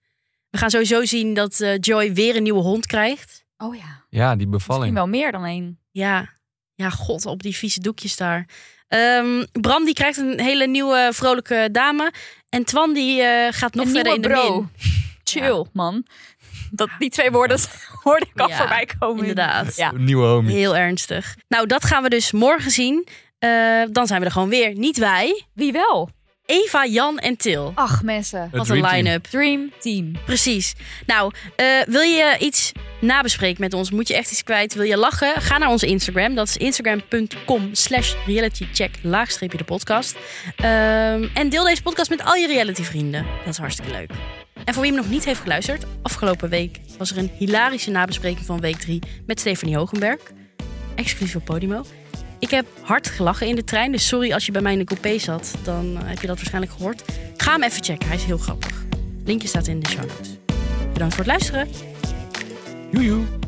[SPEAKER 1] We gaan sowieso zien dat eh, Joy weer een nieuwe hond krijgt.
[SPEAKER 2] Oh ja,
[SPEAKER 3] Ja, die
[SPEAKER 2] misschien
[SPEAKER 3] bevalling.
[SPEAKER 2] wel meer dan één.
[SPEAKER 1] Ja, ja god, op die vieze doekjes daar. Ehm, Bram die krijgt een hele nieuwe vrolijke dame. En Twan die eh, gaat nog
[SPEAKER 2] Een
[SPEAKER 1] verder in
[SPEAKER 2] nieuwe
[SPEAKER 1] de
[SPEAKER 2] bro.
[SPEAKER 1] min.
[SPEAKER 2] (laughs) Chill, man. Dat, die twee woorden (laughs) hoorde ik al
[SPEAKER 1] Ja,
[SPEAKER 2] voorbij komen.
[SPEAKER 1] Inderdaad.
[SPEAKER 2] Ja.
[SPEAKER 3] Nieuwe homie.
[SPEAKER 1] Heel ernstig. Nou, dat gaan we dus morgen zien. Eh, dan zijn we er gewoon weer. Niet wij.
[SPEAKER 2] Wie wel?
[SPEAKER 1] Eva, Jan en Til.
[SPEAKER 2] Ach, mensen.
[SPEAKER 3] Het
[SPEAKER 1] Wat een
[SPEAKER 3] dreamteam.
[SPEAKER 1] line-up.
[SPEAKER 2] Dream Team.
[SPEAKER 1] Precies. Nou, eh, wil je iets nabespreken met ons? Moet je echt iets kwijt? Wil je lachen? Ga naar onze Instagram. Dat is instagram.com slash realitycheck laagstreepje de podcast. Ehm, en deel deze podcast met al je realityvrienden. Dat is hartstikke leuk. En voor wie hem nog niet heeft geluisterd, afgelopen week was er een hilarische nabespreking van week 3 met Stefanie Hogenberg. Exclusief op Podimo. Ik heb hard gelachen in de trein, dus sorry als je bij mij in de coupé zat, dan eh, heb je dat waarschijnlijk gehoord. Ga hem even checken, hij is heel grappig. Linkje staat in de show notes. Bedankt voor het luisteren.
[SPEAKER 3] Joejoe.